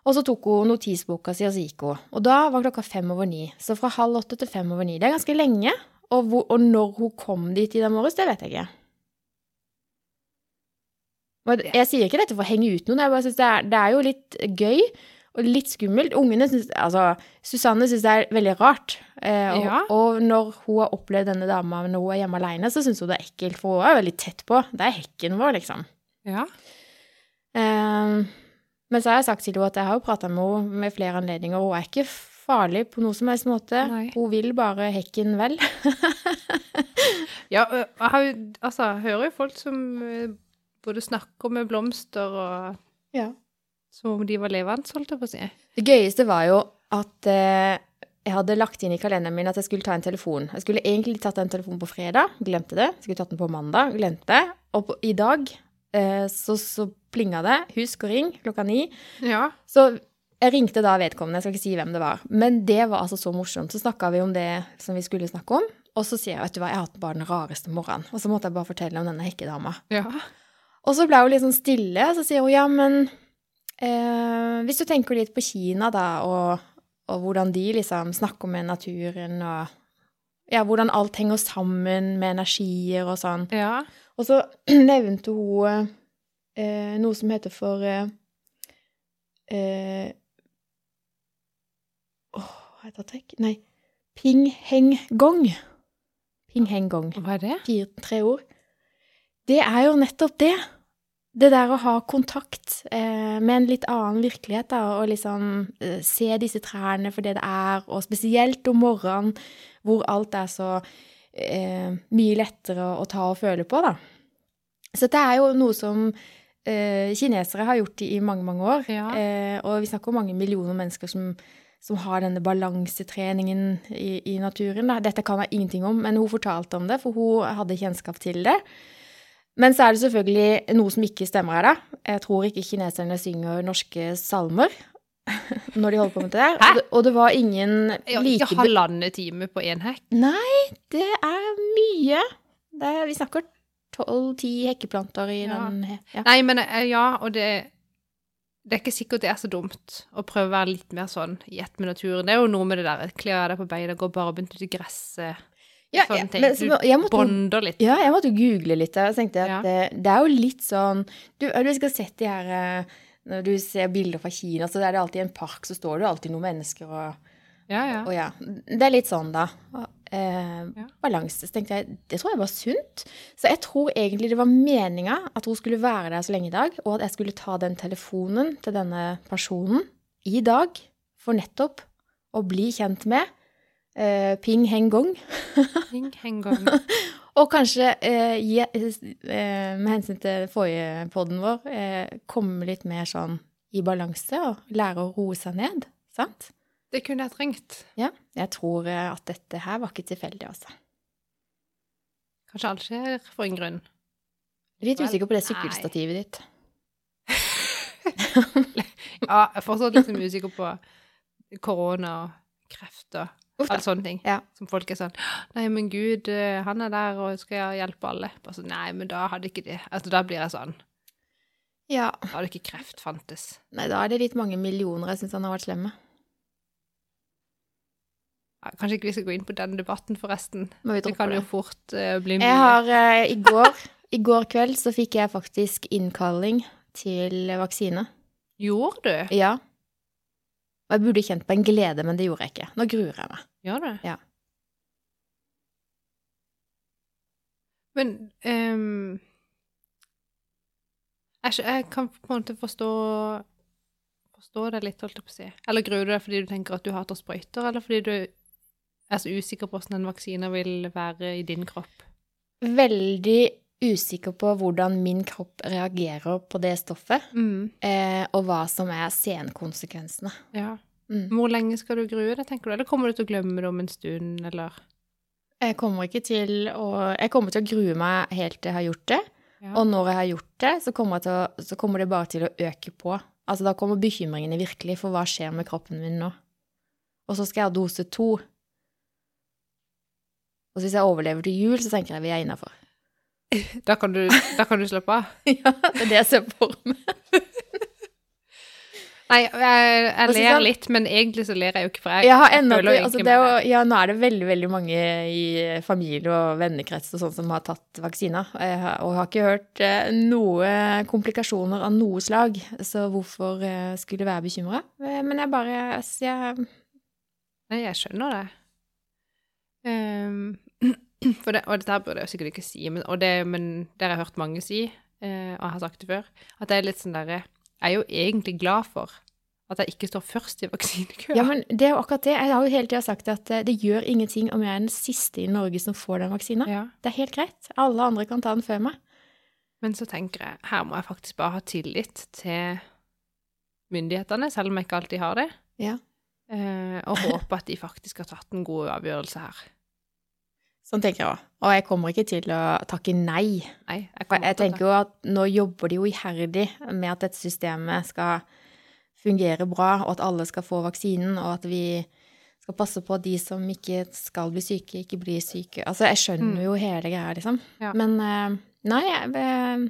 S1: Og så tok hun notisboka si, og så gikk hun. Og da var klokka fem over ni. Så fra halv åtte til fem over ni. Det er ganske lenge. Og, hvor, og når hun kom dit i dag morges, det vet jeg ikke. Og jeg sier ikke dette for å henge ut noen, jeg bare synes det, er- det er jo litt gøy og litt skummelt. Ungene synes, altså, Susanne synes det er veldig rart. Eh, og,
S2: Ja.
S1: og når hun har opplevd denne dama når hun er hjemme alene, så synes hun det er ekkelt, for hun er veldig tett på. Det er hekken vår, liksom.
S2: ja.
S1: Eh, men så har jeg sagt til henne at jeg har jo prata med henne med flere anledninger, og hun er ikke farlig på noen som helst måte.
S2: Nei.
S1: Hun vil bare hekken vel. (laughs)
S2: Ja, ø, jeg har jo, altså, jeg hører jo folk som ø, både snakker med blomster og
S1: Ja.
S2: som om de var levende, holdt jeg på å si.
S1: Det gøyeste var jo at eh, jeg hadde lagt inn i kalenderen min at jeg skulle ta en telefon. Jeg skulle egentlig tatt den telefonen på fredag, glemte det. Jeg skulle tatt den på mandag, glemte det. Og på, i dag eh, så, så plinga det. Husk å ringe klokka ni.
S2: Ja.
S1: Så jeg ringte da vedkommende, jeg skal ikke si hvem det var. Men det var altså så morsomt. Så snakka vi om det som vi skulle snakke om. Og så sier jeg vet du hva, jeg har hatt bare den rareste morgenen. Og så måtte jeg bare fortelle om denne hekkedama.
S2: Ja.
S1: Og så ble hun litt sånn stille, og så sier hun ja, men eh, hvis du tenker litt på Kina, da, og, og hvordan de liksom snakker med naturen, og ja, hvordan alt henger sammen med energier og sånn.
S2: Ja.
S1: Og så (clears throat) nevnte hun eh, noe som heter for eh, eh, Åh, hva heter det? Nei. Ping Heng Gong. Ping Heng Gong
S2: Hva er det?
S1: fire, tre ord. Det er jo nettopp det. Det der å ha kontakt eh, med en litt annen virkelighet, da, og liksom eh, se disse trærne for det det er, og spesielt om morgenen, hvor alt er så eh, mye lettere å, å ta og føle på, da. Så dette er jo noe som eh, kinesere har gjort i, i mange, mange år.
S2: Ja.
S1: Eh, og vi snakker om mange millioner mennesker som, som har denne balansetreningen i, i naturen. Da. Dette kan jeg ingenting om, men hun fortalte om det, for hun hadde kjennskap til det. Men så er det selvfølgelig noe som ikke stemmer her, da. Jeg tror ikke kineserne synger norske salmer (laughs) når de holder på med det der.
S2: Hæ?
S1: Og det, og det var ingen
S2: Ja,
S1: like
S2: Ikke halvannen time på én hekk.
S1: Nei, det er mye. Det er, vi snakker tolv-ti hekkeplanter i
S2: Ja.
S1: den he- ja.
S2: Nei, men eh, ja, og det Det er ikke sikkert det er så dumt å prøve å være litt mer sånn i ett med naturen. Det er jo noe med det der kle av deg på beina, gå bare begynt ute i gresset,
S1: Ja,
S2: sånne
S1: ja,
S2: ting.
S1: men
S2: Du
S1: så må- jeg måtte-
S2: bonder litt.
S1: Ja, jeg måtte jo google litt. og Jeg tenkte at
S2: Ja.
S1: eh, det er jo litt sånn Du, du skal sett de her eh, Når du ser bilder fra Kina, så er det alltid i en park, så står det jo alltid noen mennesker og,
S2: Ja, ja.
S1: og ja. Det er litt sånn, da. Eh,
S2: Ja.
S1: Balanse. Så tenkte jeg det tror jeg var sunt. Så jeg tror egentlig det var meninga at hun skulle være der så lenge i dag, og at jeg skulle ta den telefonen til denne personen i dag for nettopp å bli kjent med. eh, ping heng gong.
S2: Ring en gang.
S1: Og kanskje eh, gi, eh, med hensyn til forrige podden vår, eh, komme litt mer sånn i balanse og lære å roe seg ned. Sant?
S2: Det kunne jeg trengt.
S1: Ja. Jeg tror eh, at dette her var ikke tilfeldig, altså.
S2: Kanskje alt skjer for en grunn.
S1: Litt
S2: Vel,
S1: usikker på det
S2: nei.
S1: sykkelstativet ditt.
S2: Ja, jeg er fortsatt liksom usikker på korona og kreft og
S1: Uff da.
S2: alle sånne ting.
S1: Ja.
S2: Som folk er sånn Nei, men gud, eh, han er der, og skal jeg hjelpe alle? Bare sånn, Nei, men da hadde ikke det Altså, da blir jeg sånn
S1: Ja.
S2: Da hadde ikke kreft fantes.
S1: Nei, da er det litt mange millioner jeg syns han har vært slem med.
S2: Ja, kanskje ikke vi skal gå inn på den debatten, forresten.
S1: Må vi
S2: Det
S1: droppe
S2: kan jo
S1: det.
S2: fort eh, bli mye.
S1: Jeg har eh, i går I går kveld så fikk jeg faktisk innkalling til vaksine.
S2: Gjorde du?
S1: Ja. Og jeg burde kjent på en glede, men det gjorde jeg ikke. Nå gruer jeg meg.
S2: Gjør du?
S1: Ja.
S2: Men ehm, jeg, skjø- jeg kan på en måte forstå Forstå deg litt, holdt jeg på å si. Eller gruer du deg fordi du tenker at du hater sprøyter, eller fordi du er så usikker på hvordan en vaksine vil være i din kropp?
S1: veldig usikker på hvordan min kropp reagerer på det stoffet, eh, og hva som er senkonsekvensene.
S2: Ja.
S1: Mm.
S2: Hvor lenge skal du grue deg, tenker du? Eller kommer du til å glemme det om en stund, eller
S1: Jeg kommer ikke til å Jeg kommer til å grue meg helt til jeg har gjort det.
S2: Ja.
S1: Og når jeg har gjort det, så kommer, jeg til å, så kommer det bare til å øke på. Altså da kommer bekymringene virkelig for hva skjer med kroppen min nå. Og så skal jeg ha dose to. Og så hvis jeg overlever til jul, så tenker jeg vi er innafor.
S2: Da kan du, da kan du slappe av?
S1: ja, det er det jeg ser for meg.
S2: Nei, jeg, jeg
S1: Og så
S2: ler
S1: sånn-
S2: litt, men egentlig så ler jeg jo ikke, for jeg,
S1: Jeg har
S2: jeg
S1: enda
S2: føler
S1: til,
S2: jo
S1: altså
S2: egentlig
S1: det er
S2: med
S1: jo, ja, nå er det veldig, veldig mange i familie og vennekrets og sånn som har tatt vaksina, og jeg har- og har ikke hørt eh, noe komplikasjoner av noe slag, så hvorfor eh, skulle jeg være bekymret? Eh, Men jeg bare, altså, jeg,
S2: Nei, jeg skjønner det. Ehm, (clears throat) for det. Og dette her burde jeg jo sikkert ikke si, men, og det, men det har jeg hørt mange si, eh, og jeg har sagt det før, at jeg er litt sånn derre Jeg er jo egentlig glad for at jeg ikke står først i (laughs)
S1: (laughs)
S2: vaksinekøen.
S1: ja, men det er jo akkurat det, jeg har jo hele tiden sagt at eh, det gjør ingenting om jeg er den siste i Norge som får den vaksina.
S2: Ja.
S1: Det er helt greit, alle andre kan ta den før meg.
S2: Men så tenker jeg, her må jeg faktisk bare ha tillit til myndighetene, selv om jeg ikke alltid har det.
S1: Ja.
S2: Eh, og håpe at de faktisk har tatt en god avgjørelse her.
S1: Sånn tenker jeg også, og jeg kommer ikke til å takke nei
S2: Nei, jeg
S1: For
S2: kommer
S1: jeg
S2: til å ta-
S1: tenker jo at nå jobber de jo iherdig med at dette systemet skal fungere bra, og at alle skal få vaksinen, og at vi skal passe på at de som ikke skal bli syke, ikke blir syke. Altså, jeg skjønner
S2: Mm.
S1: jo hele greia, liksom.
S2: Ja.
S1: Men eh, nei, jeg, eh,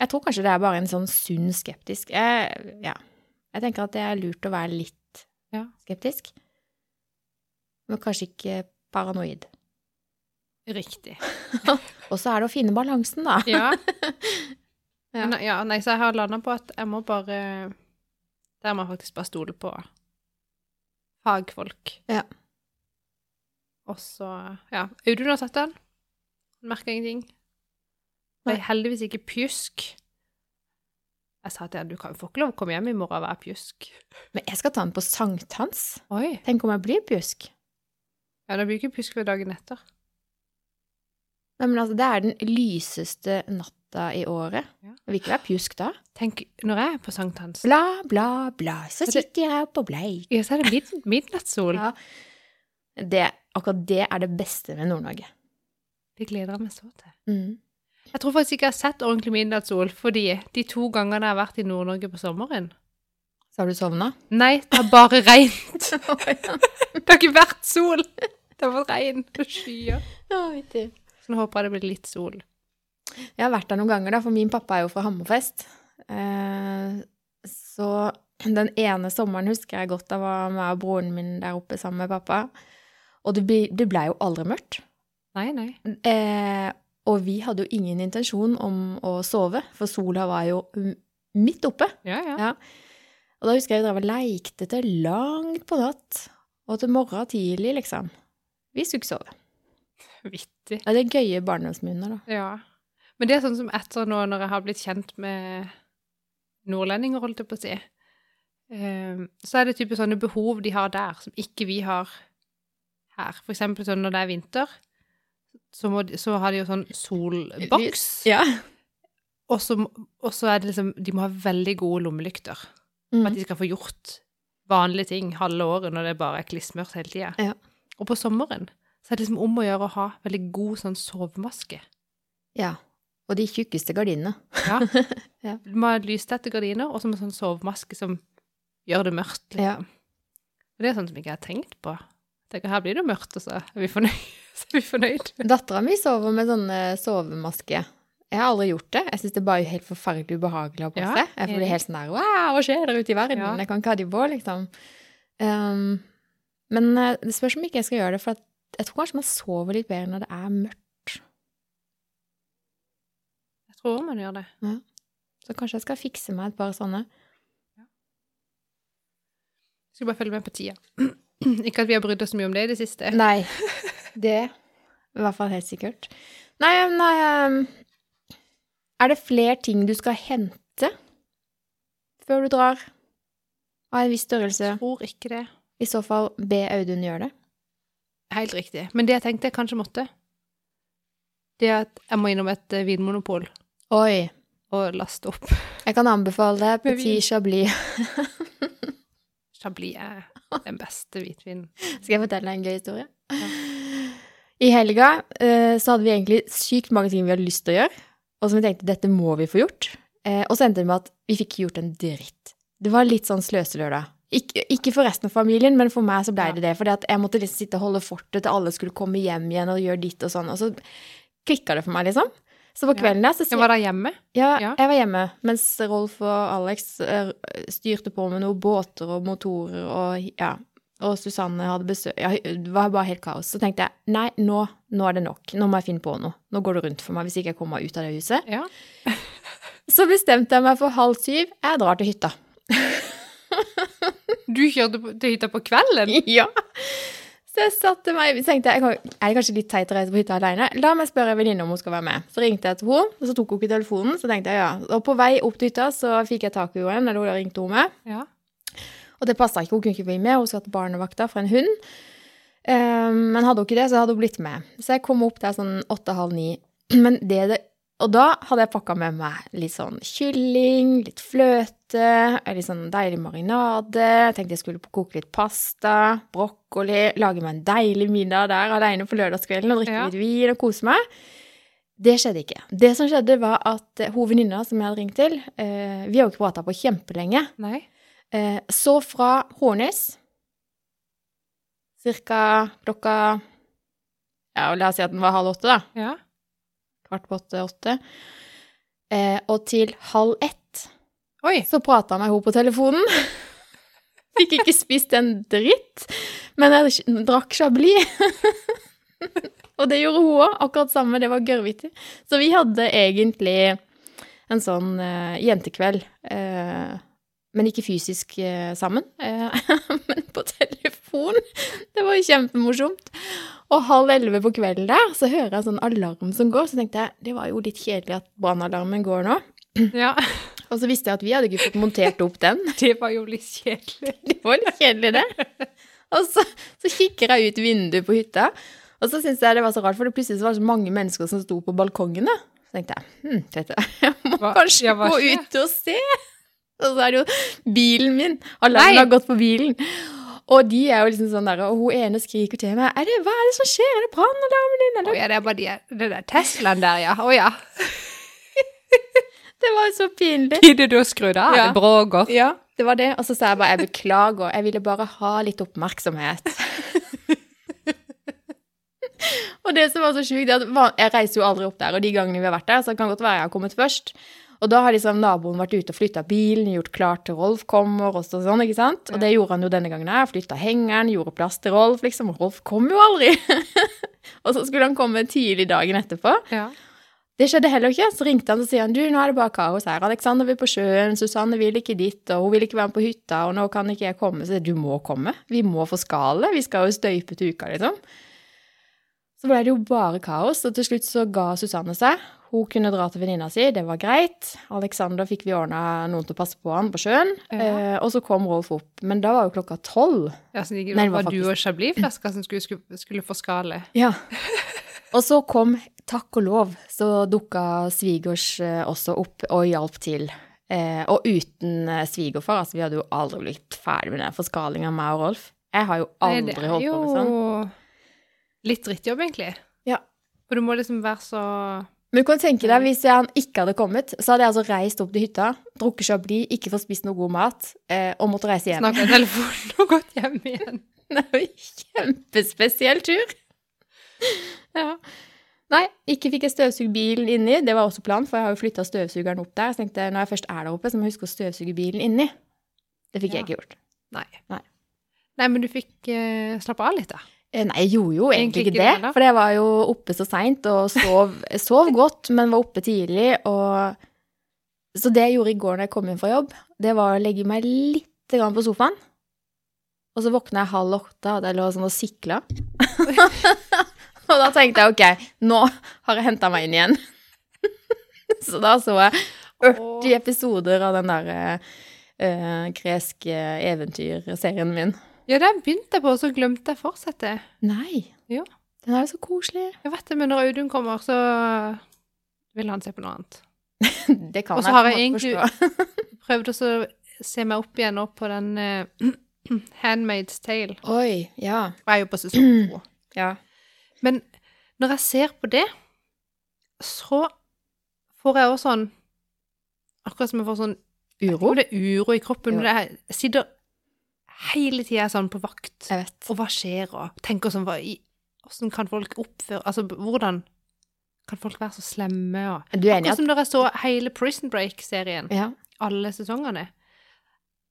S1: jeg tror kanskje det er bare en sånn sunn skeptisk. Jeg, ja. jeg tenker at det er lurt å være litt
S2: Ja.
S1: skeptisk, men kanskje ikke paranoid.
S2: Riktig.
S1: Og så er det å finne balansen, da.
S2: (laughs) Ja.
S1: Ja.
S2: Nei, ja, nei, så jeg har landa på at jeg må bare Der må jeg faktisk bare stole på fagfolk.
S1: Ja.
S2: Og så Ja. Audun har tatt den. Han merka ingenting. Ble
S1: Nei.
S2: heldigvis ikke pjusk. Jeg sa til henne du kan, får ikke lov å komme hjem i morgen og være pjusk.
S1: (laughs) Men jeg skal ta den på sankthans.
S2: Oi.
S1: Tenk om jeg blir pjusk?
S2: Ja, da blir det ikke pjusk ved dagen etter.
S1: Nei, men altså, det er den lyseste natta i året.
S2: Ja.
S1: Jeg vil ikke være pjusk da.
S2: Tenk, når jeg er på sankthans,
S1: Bla, bla, bla, så
S2: Men det-
S1: sitter jeg her på bleik.
S2: ja, så er det mid midnattssol.
S1: Ja. Det, akkurat det er det beste med Nord-Norge.
S2: Det gleder jeg meg så til.
S1: Mm.
S2: Jeg tror faktisk ikke jeg har sett ordentlig midnattssol, fordi de to gangene jeg har vært i Nord-Norge på sommeren
S1: Så har du
S2: (laughs)
S1: sovna?
S2: Nei, det har bare (laughs) regn.
S1: Å,
S2: Det har ikke vært sol. Det har vært regn og skyer.
S1: vittig.
S2: Så nå håper jeg det blir litt sol.
S1: Jeg har vært der noen ganger, da, for min pappa er jo fra Hammerfest. Eh, så den ene sommeren husker jeg godt, da var meg og broren min der oppe sammen med pappa. Og det ble, det ble jo aldri mørkt.
S2: Nei, nei.
S1: Eh, og vi hadde jo ingen intensjon om å sove, for sola var jo m- midt oppe.
S2: Ja, ja.
S1: Ja. Og da husker jeg vi drev og leikte til langt på natt, og til morgen tidlig, liksom. Vi skulle ikke sove.
S2: Vittig.
S1: Ja, Det er gøye barndomsminner, da.
S2: Ja. Men det er sånn som etter nå, når jeg har blitt kjent med nordlendinger, holdt jeg på å si, eh, så er det type sånne behov de har der, som ikke vi har her. For eksempel sånn når det er vinter, så, må de, så har de jo sånn solboks,
S1: Ja.
S2: og så og så er det liksom De må ha veldig gode lommelykter
S1: Mm.
S2: for at de skal få gjort vanlige ting halve året når det bare er klissmørkt hele tida.
S1: Ja.
S2: Og på sommeren så er det liksom om å gjøre å ha veldig god sånn sovemaske.
S1: ja. Og de tjukkeste gardinene.
S2: Ja.
S1: (laughs) Ja.
S2: Du må ha lystette gardiner og så med sånn sovemaske som gjør det mørkt.
S1: Ja.
S2: Liksom. Og Det er sånn som jeg ikke har tenkt på. Jeg Tenker, her blir det mørkt, og så er vi fornøyd. (laughs) Så er vi fornøyd.
S1: Dattera mi sover med sånne sovemaske. Jeg har aldri gjort det. Jeg syns det er bare helt forferdelig ubehagelig å ha på
S2: Ja,
S1: seg. jeg blir
S2: enig.
S1: helt sånn der Wow, hva skjer der ute i verden?
S2: Ja.
S1: Jeg kan ikke ha de på, liksom. Ehm, men eh, det spørs om ikke jeg skal gjøre det, for at jeg tror kanskje man sover litt bedre når det er mørkt.
S2: Jeg tror man gjør det.
S1: Så kanskje jeg skal fikse meg et par sånne.
S2: Jeg skal bare følge med på tida. (clears throat) Ikke at vi har brydd oss så mye om det i det siste.
S1: Nei,
S2: (laughs)
S1: det I hvert fall helt sikkert. Nei, nei ehm, Er det flere ting du skal hente før du drar? Av en viss størrelse?
S2: Jeg tror ikke det.
S1: I så fall, be Audun gjøre det.
S2: Helt riktig. Men det jeg tenkte jeg kanskje måtte, det er at jeg må innom et eh, vinmonopol
S1: Oi.
S2: og laste opp (laughs)
S1: Jeg kan anbefale deg
S2: Med vin.
S1: Petit (laughs) Chablis.
S2: Chablis. er Den beste hvitvinen.
S1: Skal jeg fortelle deg en gøy historie?
S2: Ja.
S1: I helga eh, så hadde vi egentlig sykt mange ting vi hadde lyst til å gjøre, og som vi tenkte dette må vi få gjort. Eh, og så endte det med at vi fikk ikke gjort en dritt. Det var litt sånn sløselørdag. Ikke, ikke for resten av familien, men for meg så blei
S2: Ja.
S1: det det. For jeg måtte liksom sitte og holde fortet til alle skulle komme hjem igjen og gjøre ditt og sånn. Og så klikka det for meg, liksom. Så på
S2: Ja.
S1: kvelden der så
S2: Jeg var der hjemme.
S1: Ja,
S2: Ja.
S1: jeg var hjemme, mens Rolf og Alex eh, styrte på med noen båter og motorer, og, ja, og Susanne hadde besøk. Ja, det var bare helt kaos. Så tenkte jeg nei, nå, nå er det nok. Nå må jeg finne på noe. Nå går det rundt for meg hvis ikke jeg kommer meg ut av det huset.
S2: Ja.
S1: Så bestemte jeg meg for halv syv. Jeg drar til hytta. (laughs)
S2: Du kjørte på- til hytta på kvelden?
S1: Ja. Så jeg satte meg, så tenkte jeg, jeg kan- er det kanskje litt teit å reise på hytta alene? La meg spørre en venninne om hun skal være med. Så ringte jeg til henne, og så tok hun ikke telefonen. Så tenkte jeg ja. Og på vei opp til hytta så fikk jeg tak i henne, eller hun ringte hun meg.
S2: Ja.
S1: Og det passa ikke, hun kunne ikke bli med, hun skulle hatt barnevakta for en hund. Eh, men hadde hun ikke det, så hadde hun blitt med. Så jeg kom opp der sånn åtte-halv ni. (clears throat) Men det det Og da hadde jeg pakka med meg litt sånn kylling, litt fløte, litt sånn deilig marinade. Jeg tenkte jeg skulle koke litt pasta, brokkoli, lage meg en deilig middag der aleine på lørdagskvelden og drikke
S2: Ja.
S1: litt vin og kose meg. Det skjedde ikke. Det som skjedde, var at eh, hun venninna som jeg hadde ringt til eh, Vi har jo ikke prata på kjempelenge.
S2: Nei.
S1: Eh, så fra Hånes, cirka klokka Ja, la oss si at den var halv åtte, da.
S2: Ja.
S1: Kvart på åtte, åtte. Eh, og til halv ett
S2: Oi.
S1: så prata jeg med henne på telefonen. (laughs) Fikk ikke spist en dritt, men jeg sj- drakk Chablis. (laughs) og det gjorde hun òg, akkurat samme. Det var gørrvittig. Så vi hadde egentlig en sånn eh, jentekveld. eh, men ikke fysisk eh, sammen, eh, (laughs) men på telefon. Det var jo kjempemorsomt. Og halv elleve på kvelden der, så hører jeg sånn alarm som går. Så tenkte jeg det var jo litt kjedelig at brannalarmen går nå.
S2: Ja. (laughs)
S1: Og så visste jeg at vi hadde ikke fått montert opp den. (laughs)
S2: Det var jo litt kjedelig.
S1: Det var litt kjedelig, det. Og så, så kikker jeg ut vinduet på hytta, og så syntes jeg det var så rart, for det plutselig så var det så mange mennesker som sto på balkongene. Så tenkte jeg hm, vet du, (laughs) jeg må
S2: Hva-
S1: kanskje
S2: ja, hva
S1: gå
S2: skjer?»
S1: ut og se. Og så er det jo bilen min. Alarmen
S2: Nei!
S1: har gått på bilen. Og de er jo liksom sånn der, og hun ene skriker til meg er det, 'Hva er det som skjer? Er det brannalarmen din?'
S2: Å
S1: Eller?
S2: ja, det er bare de, det der Teslaen der, ja. Å ja.
S1: Det var jo så pinlig.
S2: Gidder du å skru (laughs) det av?
S1: Ja.
S2: Det bråker.
S1: Ja, det var det. Og så sa jeg bare 'jeg beklager, jeg ville bare ha litt oppmerksomhet'. (laughs) og det som var så sjukt, det er at van- jeg reiser jo aldri opp der, og de gangene vi har vært der, så det kan godt være jeg har kommet først. Og da har liksom naboen vært ute og flytta bilen, gjort klart til Rolf kommer, og så- sånn, ikke sant? Og det gjorde han jo denne gangen her. Flytta hengeren, gjorde plass til Rolf, liksom. Og Rolf kom jo aldri. (laughs) og så skulle han komme tidlig dagen etterpå.
S2: Ja.
S1: Det skjedde heller ikke. Så ringte han og sier han, du, nå er det bare kaos her. Alexander vil på sjøen, Susanne vil ikke dit, og hun vil ikke være med på hytta, og nå kan ikke jeg komme. Så jeg, du må komme. Vi må få skale. Vi skal jo støype til uka, liksom. Så ble det jo bare kaos, og til slutt så ga Susanne seg. Hun kunne dra til venninna si, det var greit. Alexander fikk vi ordna noen til å passe på han på sjøen.
S2: Ja.
S1: Eh, og så kom Rolf opp, men da var jo klokka tolv.
S2: Ja, så det
S1: Nei, det
S2: var
S1: var
S2: du og Chablis-flaska som skulle, skulle, skulle få skale.
S1: Ja. (laughs) Og så kom, takk og lov, så dukka svigers eh, også opp og hjalp til. Eh, og uten eh, svigerfar, altså vi hadde jo aldri blitt ferdig med den forskalinga, meg og Rolf. Jeg har jo aldri
S2: Nei, det er
S1: holdt på med sånn.
S2: Jo litt drittjobb, egentlig.
S1: Ja.
S2: For du må liksom være så
S1: Men du kan tenke deg, hvis han ikke hadde kommet, så hadde jeg altså reist opp til hytta, drukket chablis, ikke fått spist noe god mat, eh, og måtte reise hjem.
S2: Snakke i telefonen og gått hjem igjen.
S1: (laughs) Det er jo kjempespesiell tur. Ja. Nei, ikke fikk jeg støvsugd bilen inni. Det var også planen, for jeg har jo flytta støvsugeren opp der. Så tenkte jeg når jeg først er der oppe, så må jeg huske å støvsuge bilen inni. Det fikk
S2: Ja.
S1: jeg ikke gjort.
S2: Nei.
S1: Nei.
S2: Nei, men du fikk eh, slappe av litt, da.
S1: Eh, Nei, jeg gjorde jo egentlig,
S2: Egentlig ikke
S1: ikke det.
S2: det, da.
S1: for jeg var jo oppe så seint og sov, (laughs) jeg sov godt, men var oppe tidlig. Og... Så det jeg gjorde i går når jeg kom hjem fra jobb, det var å legge meg lite grann på sofaen. Og så våkna jeg halv åtte, hadde jeg lå sånn og sikla. (laughs) og da tenkte jeg ok, nå har jeg henta meg inn igjen. (laughs) så da så jeg 40 episoder av den der eh, greske eventyrserien min.
S2: Ja, den begynte jeg på, og så glemte jeg å fortsette.
S1: Nei.
S2: Jo.
S1: Den er jo så koselig.
S2: Jeg vet det, men når Audun kommer, så vil han se på noe annet.
S1: (laughs) Det kan
S2: Og så
S1: jeg
S2: har
S1: på en
S2: jeg
S1: måte
S2: egentlig-
S1: forstå.
S2: Prøvde også å se meg opp igjen nå på den eh, (clears throat) Handmaid's Tale.
S1: Oi, ja.
S2: Jeg er jo på sesong to.
S1: Ja.
S2: Men når jeg ser på det, så får jeg også sånn Akkurat som jeg får sånn
S1: Uro?
S2: Det er uro i kroppen.
S1: Ja.
S2: Men jeg sitter hele tida sånn på vakt.
S1: Jeg vet.
S2: Og hva skjer, og tenker sånn hva i, Hvordan kan folk oppføre Altså, hvordan kan folk være så slemme? Og,
S1: Er du enig i
S2: akkurat
S1: at
S2: som når jeg så hele Prison Break-serien,
S1: Ja.
S2: alle sesongene.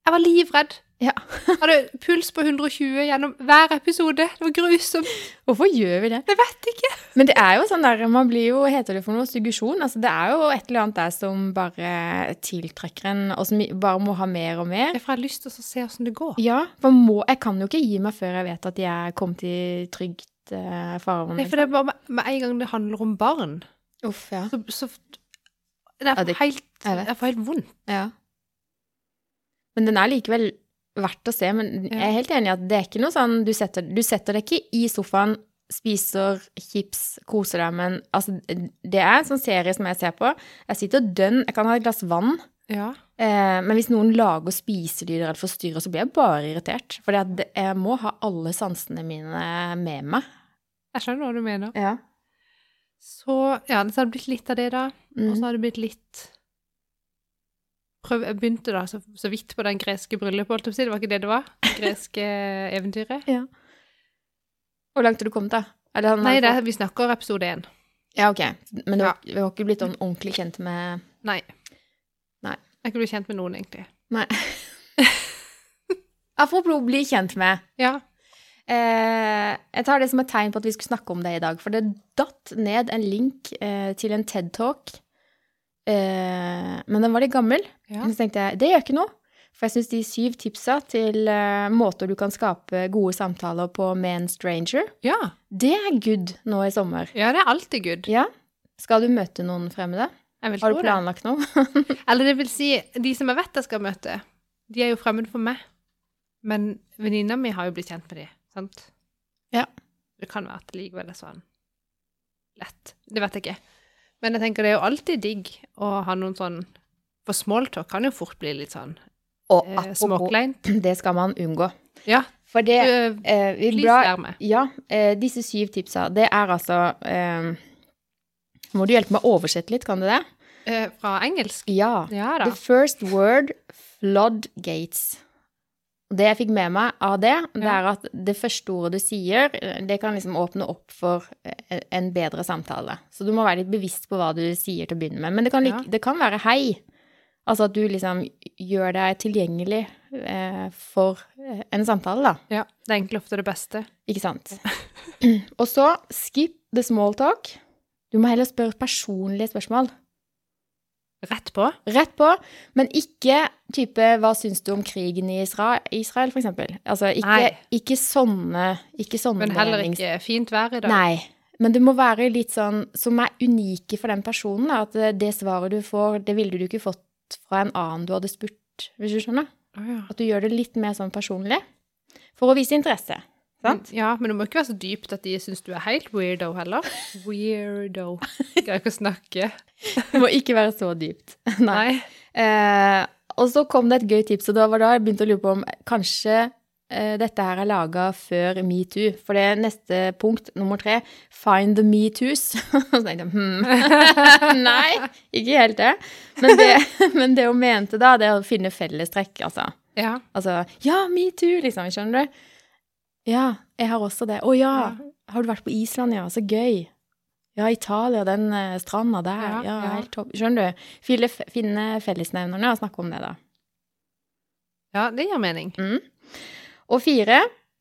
S2: Jeg var livredd.
S1: ja.
S2: Jeg Hadde puls på 120 gjennom hver episode. Det var grusomt.
S1: Hvorfor gjør vi det?
S2: Jeg vet ikke.
S1: Men det er jo sånn der, man blir jo, heter det for noe, suggesjon. Altså, det er jo et eller annet der som bare tiltrekker en, og som bare må ha mer og mer.
S2: Jeg får lyst til å se hvordan det går.
S1: Ja, for må, jeg kan jo ikke gi meg før jeg vet at jeg kom til trygt uh, farvann.
S2: Nei, for det er bare med- med en gang det handler om barn,
S1: Uff, ja.
S2: så, så jeg,
S1: Ja,
S2: får
S1: det-
S2: helt,
S1: jeg vet.
S2: jeg får helt vondt.
S1: ja. Men den er likevel verdt å se. Men jeg er helt enig i at det er ikke noe sånn Du setter, du setter deg ikke i sofaen, spiser chips, koser deg, men altså, det er en sånn serie som jeg ser på. Jeg sitter dønn, jeg kan ha et glass vann,
S2: Ja.
S1: eh, men hvis noen lager spiselyder eller forstyrrer, så blir jeg bare irritert. For jeg må ha alle sansene mine med meg.
S2: Jeg skjønner hva du mener.
S1: Ja.
S2: Så ja, så har det blitt litt av det, da. Og så
S1: Mm.
S2: har det blitt litt Prøv, Jeg begynte da så, så vidt på den greske bryllupet, holdt jeg på å si. Det var ikke det det var? Det Greske eventyret?
S1: Hvor langt har du kommet, da? Er det sånn-
S2: Nei, det, er- vi snakker episode én.
S1: Ja, ok. Men du, har- du har ikke blitt sånn ordentlig kjent med
S2: Nei.
S1: Nei.
S2: Jeg er ikke blitt kjent med noen, egentlig.
S1: Nei. (laughs) Apropos bli kjent med.
S2: Ja.
S1: Eh, jeg tar det som et tegn på at vi skulle snakke om det i dag. For det datt ned en link eh, til en TED-talk. Eh, men den var litt gammel.
S2: ja.
S1: Men Så tenkte jeg det gjør ikke noe. For jeg syns de syv tipsa til eh, måter du kan skape gode samtaler på med en stranger,
S2: Ja,
S1: det er good nå i sommer.
S2: ja det er alltid good.
S1: Ja. Skal du møte noen fremmede?
S2: Jeg vil
S1: Har
S2: tro
S1: du
S2: det.
S1: planlagt noe?
S2: Eller det vil si, de som jeg vet jeg skal møte, de er jo fremmede for meg. Men venninna mi har jo blitt kjent med de, sant?
S1: Ja.
S2: Det kan være at det likevel er sånn lett. Det vet jeg ikke. Men jeg tenker det er jo alltid digg å ha noen sånn For smalltalk kan jo fort bli litt sånn
S1: Og
S2: eh, småkleint.
S1: Det skal man unngå.
S2: Ja,
S1: For det
S2: Øh,
S1: eh, vi blar,
S2: Lysverme.
S1: Ja, eh, disse syv tipsa, det er altså eh, Må du hjelpe meg å oversette litt, kan du det?
S2: Eh, fra engelsk.
S1: Ja.
S2: Ja da.
S1: The first word, floodgates. Det jeg fikk med meg av det, det
S2: Ja.
S1: er at det første ordet du sier, det kan liksom åpne opp for eh, en bedre samtale. Så du må være litt bevisst på hva du sier til å begynne med. Men det kan, lik-
S2: Ja.
S1: det kan være hei. Altså at du liksom gjør deg tilgjengelig eh, for eh, en samtale, da.
S2: Ja, det er egentlig ofte det beste.
S1: Ikke sant? (clears throat) Og så skip the small talk. Du må heller spørre personlige spørsmål.
S2: Rett på.
S1: Rett på, men ikke type 'hva syns du om krigen i Isra- Israel', for eksempel. Altså ikke,
S2: Nei.
S1: ikke sånne ikke sånne
S2: Men heller
S1: menings-
S2: ikke fint vær i dag.
S1: Nei. Men det må være litt sånn som er unike for den personen. da, At eh, det svaret du får, det ville du ikke fått fra en annen du hadde spurt, hvis du skjønner?
S2: Å, ja.
S1: At du gjør det litt mer sånn personlig. For å vise interesse. Sant?
S2: Ja, men det må ikke være så dypt at de syns du er helt weirdo heller. (laughs) Weirdo. Greier ikke å snakke.
S1: Det må ikke være så dypt. (laughs) Nei.
S2: Nei.
S1: Eh, og så kom det et gøy tips, og da var da jeg begynte å lure på om kanskje eh, dette her er laga før metoo. For det neste punkt, nummer tre, find the metoos. (laughs) så tenkte jeg
S2: (laughs)
S1: hm. (laughs) Nei, ikke helt det. Men det, (laughs) men det hun mente da, det er å finne fellestrekk, altså.
S2: Ja.
S1: Altså ja, metoo, liksom. Skjønner du? Ja, jeg har også det. Å ja,
S2: Ah.
S1: har du vært på Island, ja? Så gøy. Ja, Italia, den eh, stranda der.
S2: Ja,
S1: Ja,
S2: ja.
S1: helt topp. Skjønner du? Finne, finne fellesnevnerne og snakke om det, da.
S2: ja, det gir mening.
S1: Og fire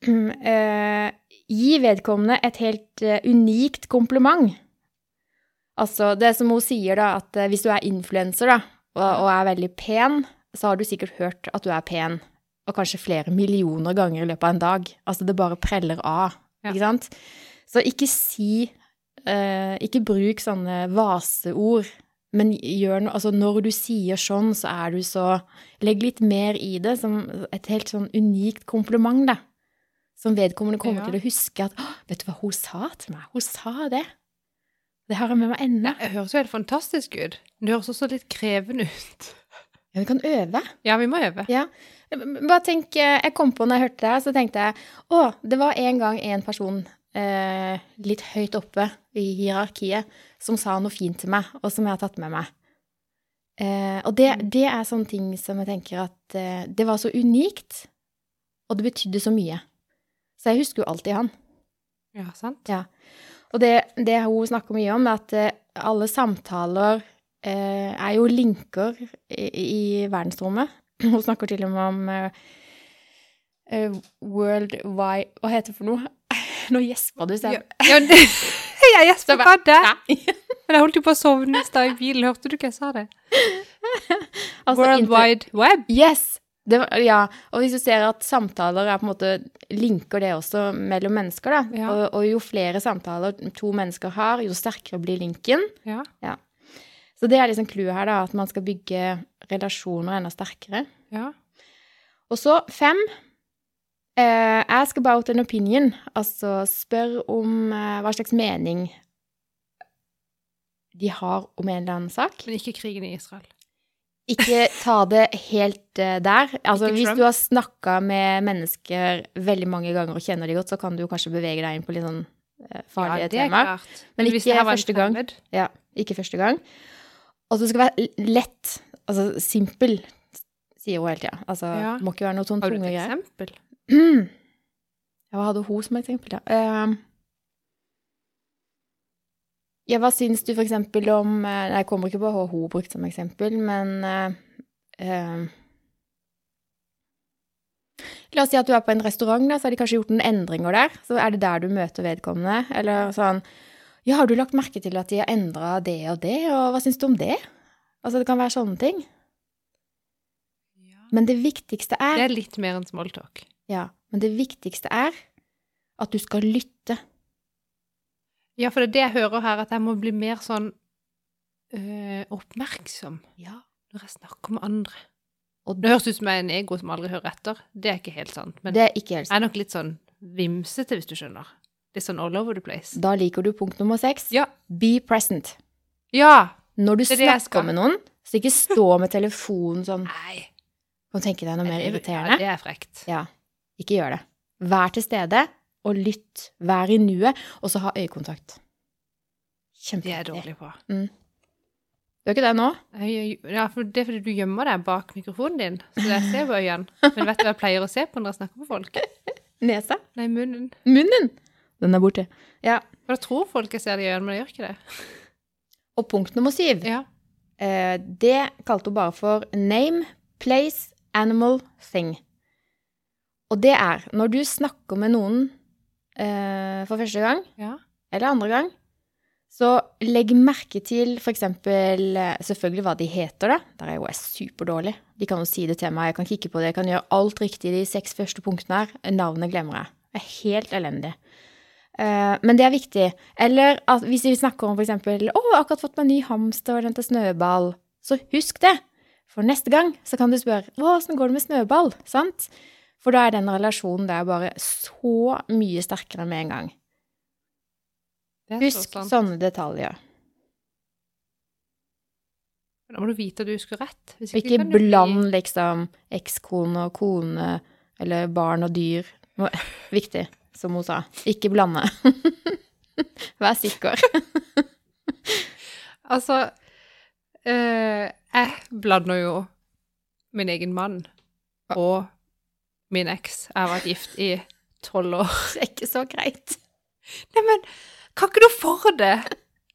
S1: (clears throat) eh, Gi vedkommende et helt eh, unikt kompliment. Altså, det som hun sier, da, at eh, hvis du er influenser da, og, og er veldig pen, så har du sikkert hørt at du er pen, og kanskje flere millioner ganger i løpet av en dag. Altså, det bare preller av,
S2: Ja.
S1: ikke sant? Så ikke si eh, Ikke bruk sånne vaseord, men gjør noe Altså, når du sier sånn, så er du så Legg litt mer i det, som et helt sånn unikt kompliment, da. Som vedkommende kommer
S2: Ja.
S1: til å huske at «Å, Vet du hva hun sa til meg? Hun sa det. Det har jeg med meg ennå.
S2: Det høres jo helt fantastisk ut. Men det høres også litt krevende ut.
S1: Ja, vi kan øve.
S2: Ja, vi må øve.
S1: Ja. Bare tenk, eh, jeg kom på når jeg hørte det her, så tenkte jeg å, det var en gang en person eh, litt høyt oppe i hierarkiet som sa noe fint til meg, og som jeg har tatt med meg. Eh, og det, det er sånne ting som jeg tenker at eh, det var så unikt, og det betydde så mye. Så jeg husker jo alltid han.
S2: Ja, sant?
S1: Og det, det hun snakker mye om, er at eh, alle samtaler eh, er jo linker i, i verdensrommet. (clears throat) Hun snakker til og med om eh, eh, World Wide Hva heter det for noe? (laughs) Nå gjespa du, (laughs)
S2: Ja,
S1: Sem.
S2: ja, det, (laughs) jeg gjesper fra deg.
S1: Nei.
S2: Men jeg holdt jo på å sovne i stad i bilen. Hørte du hva jeg sa det?
S1: Altså,
S2: World
S1: inter-
S2: Wide Web.
S1: Yes! Det var, ja, og hvis du ser at samtaler er på en måte linker det også mellom mennesker, da.
S2: Ja.
S1: Og, og jo flere samtaler to mennesker har, jo sterkere blir linken.
S2: Ja.
S1: Så det er liksom clouet her, da, at man skal bygge relasjoner enda sterkere.
S2: ja.
S1: Og så fem. eh, ask about an opinion. Altså spør om eh, hva slags mening de har om en eller annen sak.
S2: Men ikke krigen i Israel.
S1: Ikke ta det helt eh, der. Altså,
S2: Ikke
S1: hvis
S2: Trump.
S1: du har snakka med mennesker veldig mange ganger og kjenner de godt, så kan du jo kanskje bevege deg inn på litt sånn eh, farlige temaer.
S2: klart.
S1: Men
S2: hvis
S1: ikke
S2: det her var en
S1: første gang.
S2: fremmed-
S1: Ja, ikke første gang. Og så skal det være lett. Altså simpel, sier hun hele tida. Altså,
S2: Ja.
S1: Det må ikke være noe sånn
S2: Har du et
S1: tunge greier.
S2: eksempel?
S1: Mm. Ja, Hva hadde hun som eksempel, da? Ehm, ja, hva syns du for eksempel om eh, Nei, jeg kommer ikke på hva hun brukte som eksempel, men eh, ehm, La oss si at du er på en restaurant, da, så har de kanskje gjort noen endringer der. Så er det der du møter vedkommende. Eller sånn Ja, har du lagt merke til at de har endra det og det, og hva syns du om det? Altså, det kan være sånne ting. Men det viktigste er
S2: Det er litt mer enn smalltalk.
S1: ja, men det viktigste er at du skal lytte.
S2: Ja, for det er det jeg hører her, at jeg må bli mer sånn øh, oppmerksom når jeg snakker med andre.
S1: Og
S2: Det høres ut som jeg er en ego som aldri hører etter. Det er ikke helt sant. Men
S1: det er ikke helt
S2: jeg
S1: sant.
S2: er nok litt sånn vimsete, hvis du skjønner. Litt sånn all over the place.
S1: Da liker du punkt nummer seks.
S2: Ja.
S1: Be present.
S2: Ja!
S1: Når du
S2: Det er det jeg
S1: snakker
S2: skal.
S1: med noen, så ikke stå med telefonen sånn
S2: Nei.
S1: Kan du tenke deg noe mer
S2: det-
S1: irriterende?
S2: Ja, det er frekt.
S1: Ja. Ikke gjør det. Vær til stede, og lytt. Vær i nuet, og så ha øyekontakt.
S2: Det er jeg
S1: Kjempeviktig.
S2: dårlig på.
S1: Du er ikke det nå?
S2: Jeg, gjør- ja, for det er fordi du gjemmer deg bak mikrofonen din, så jeg ser på øynene. Men vet du hva jeg pleier å se på når jeg snakker med folk?
S1: Nesa?
S2: Nei, munnen.
S1: Munnen! Den er borte. Ja.
S2: For da tror folk jeg ser det i øynene, men jeg gjør ikke det.
S1: Og punkt nummer syv.
S2: Ja.
S1: Eh, det kalte hun bare for name, place, animal, thing. Og det er når du snakker med noen eh, for første gang,
S2: ja.
S1: eller andre gang, så legg merke til for eksempel eh, selvfølgelig hva de heter da. Der er jo jeg superdårlig. De kan jo si det til meg, jeg kan kikke på det, jeg kan gjøre alt riktig de seks første punktene her. Navnet glemmer jeg. Jeg er helt elendig. Eh, Men det er viktig. Eller at hvis vi snakker om for eksempel, å, jeg har akkurat fått meg en ny hamster og den til snøball, så husk det. For neste gang så kan du spørre, å, hvordan går det med snøball? Sant? For da er den relasjonen der bare så mye sterkere med en gang.
S2: Det er så
S1: Husk sånn
S2: sant.
S1: sånne detaljer.
S2: Da må du vite at du husker rett. Hvis
S1: Ikke
S2: kan du bli-
S1: bland liksom ekskone og kone eller barn og dyr. Nå- (laughs) Viktig, som hun sa. Ikke blande. (laughs) Vær sikker. (laughs)
S2: Altså, eh, jeg blander jo min egen mann og min eks. Jeg har vært gift i tolv år. (laughs)
S1: Det er ikke så greit.
S2: Nei, men kan ikke du for det?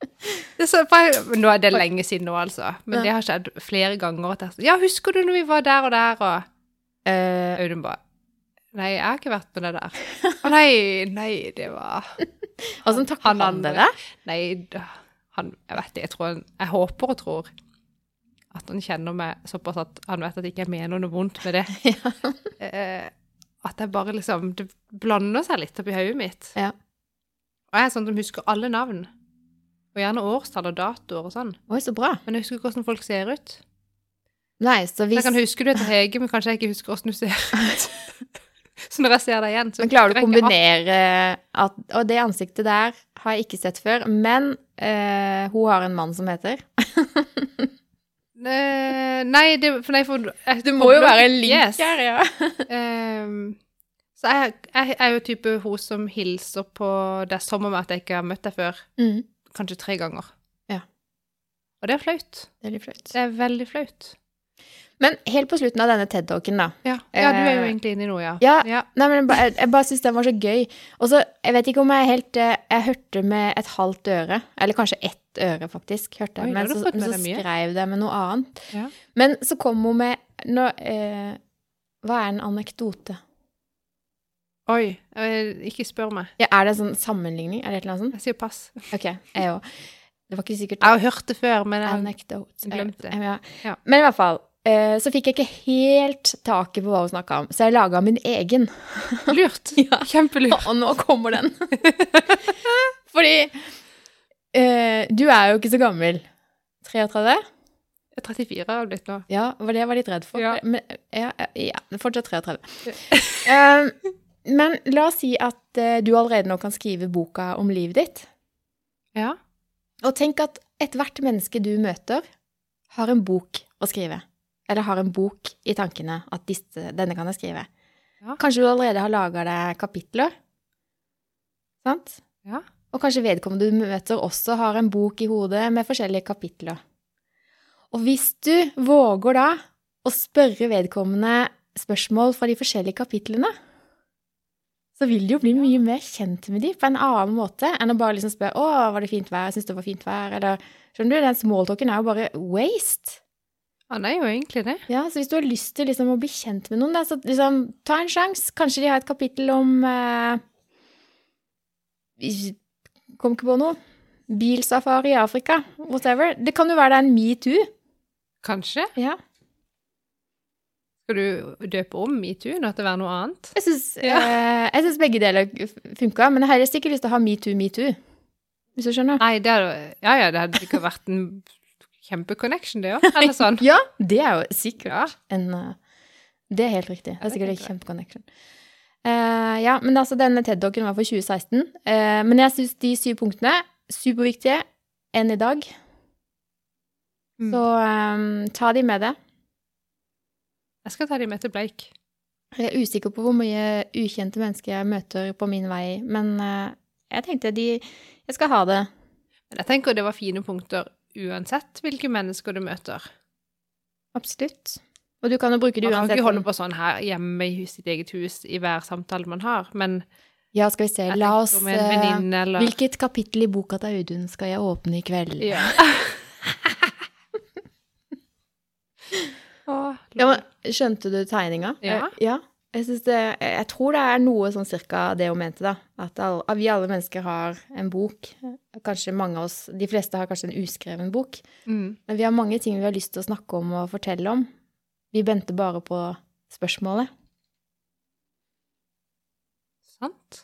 S2: (laughs) det er så, for jeg, men nå er det lenge siden nå, altså. Men
S1: Ja.
S2: det har skjedd flere ganger. At jeg, har sagt, ja, husker du når vi var der og der, og
S1: Eh,
S2: Audun bare Nei, jeg har ikke vært med det der. Å nei, nei, det var
S1: Åssen takler
S2: Han
S1: han,
S2: andre.
S1: det der?
S2: Nei, d- han, jeg vet det, jeg tror han, jeg håper og tror at han kjenner meg såpass at han vet at jeg ikke mener noe vondt
S1: (laughs)
S2: med det. Eh, at jeg bare liksom, det blander seg litt oppi høyet mitt.
S1: Ja.
S2: Og jeg er sånn at de husker alle navn, og gjerne årstall og datoer og sånn.
S1: Oi, så bra.
S2: Men jeg husker ikke hvordan folk ser ut.
S1: Nei, så
S2: Så
S1: hvis (laughs)
S2: jeg kan huske du heter Hege, men kanskje jeg ikke husker hvordan du ser (laughs) ut. så når jeg ser deg igjen, så
S1: Men klarer du å
S2: husker jeg ikke alt.
S1: kombinere at Og det ansiktet der har jeg ikke sett før, men eh, hun har en mann som heter
S2: Eh, Nei, det, for nei, for jeg- Yes.
S1: ja.
S2: Ehm, så jeg, jeg, jeg er jo type hun som hilser på deg som om at jeg ikke har møtt deg før,
S1: Mm,
S2: kanskje tre ganger.
S1: Ja.
S2: Og det er flaut.
S1: det er litt flaut.
S2: Det er veldig flaut.
S1: Men helt på slutten av denne TED-talken, da.
S2: Ja, ja du er jo
S1: Eh,
S2: egentlig inne i noe, ja.
S1: ja. Nei, men jeg ba- jeg, jeg bare syns den var så gøy. Og så, jeg vet ikke om jeg helt eh, Jeg hørte med et halvt øre, eller kanskje ett øre, faktisk. hørte jeg,
S2: Oi, da
S1: Men
S2: har du
S1: så,
S2: fått med
S1: men så
S2: deg mye.
S1: skrev jeg med noe annet.
S2: Ja.
S1: Men så kom hun med nå, eh, Hva er en anekdote?
S2: Oi, eh, ikke spør meg.
S1: Ja, er det en sånn sammenligning? Er det et eller annet sånt?
S2: Jeg sier pass.
S1: Ok, jeg òg. Det var ikke sikkert.
S2: Jeg har hørt det før, men jeg,
S1: Anecdote.
S2: jeg glemte det.
S1: Ja.
S2: Ja.
S1: Men i hvert fall, eh, så fikk jeg ikke helt taket på hva hun snakka om, så jeg laga min egen.
S2: (laughs) (laughs) lurt.
S1: (laughs)
S2: Kjempelurt.
S1: Og nå kommer den. (laughs) Fordi eh, du er jo ikke så gammel. 33?
S2: Jeg er 34 har jeg blitt nå.
S1: Ja, var det jeg var litt redd for.
S2: Ja.
S1: Men, ja, ja, fortsatt 33. (laughs) Eh, men la oss si at eh, du allerede nå kan skrive boka om livet ditt.
S2: Ja.
S1: Og tenk at ethvert menneske du møter, har en bok å skrive. Eller har en bok i tankene at disse, denne kan jeg skrive.
S2: Ja.
S1: Kanskje du allerede har laga deg kapitler? Sant?
S2: Ja.
S1: Og kanskje vedkommende du møter også har en bok i hodet med forskjellige kapitler. Og hvis du våger da å spørre vedkommende spørsmål fra de forskjellige kapitlene, så vil du jo bli mye mer kjent med de på en annen måte enn å bare liksom spørre 'Å, var det fint vær? Syns det var fint vær?' Eller Skjønner du, den smalltalken er jo bare waste.
S2: Han er jo egentlig det.
S1: Ja, så hvis du har lyst til liksom å bli kjent med noen, da, så liksom ta en sjanse. Kanskje de har et kapittel om eh, vi- Kom ikke på noe. Bilsafari i Afrika. Whatever. Det kan jo være det er en metoo.
S2: Kanskje.
S1: Ja.
S2: Skal du døpe om metoo nå til å være noe
S1: (laughs)
S2: annet?
S1: Jeg syns eh, jeg syns begge deler funka, men jeg har helst ikke lyst til å ha metoo, metoo. Hvis du skjønner?
S2: Nei, det hadde, ja, ja, det hadde ikke vært en kjempeconnection, det òg. Eller sånn.
S1: Ja, det er jo sikkert
S2: Ja.
S1: en eh, Det er helt riktig. Det er
S2: Det er
S1: sikkert en
S2: helt riktig.
S1: kjempeconnection. Eh, ja, men altså, denne TED-dokken var for 2016. eh, men jeg syns de syv punktene, superviktige, enn i dag.
S2: Mm.
S1: Mm. Så eh, ta de med deg.
S2: Jeg skal ta de med til Bleik.
S1: Jeg er usikker på hvor mye ukjente mennesker jeg møter på min vei, men eh, jeg tenkte de Jeg skal ha det.
S2: Men jeg tenker det var fine punkter uansett hvilke mennesker du møter.
S1: Absolutt. Og du kan jo bruke det
S2: Man kan
S1: uansett.
S2: ikke holde på sånn her hjemme i hus- sitt eget hus i hver samtale man har, men
S1: Ja, skal vi se.
S2: jeg
S1: La
S2: tenker
S1: oss
S2: med en
S1: eh,
S2: venninne eller
S1: Hvilket kapittel i boka til Audun skal jeg åpne i kveld? (laughs)
S2: ja. (laughs) Å,
S1: Ja, men, skjønte du tegninga? Eh,
S2: Ja.
S1: ja. Jeg, synes det, jeg tror det er noe sånn cirka det hun mente, da. At all, at vi alle mennesker har en bok. Kanskje mange av oss, De fleste har kanskje en uskreven bok.
S2: mm.
S1: Men vi har mange ting vi har lyst til å snakke om og fortelle om. Vi venter bare på spørsmålet.
S2: Sant?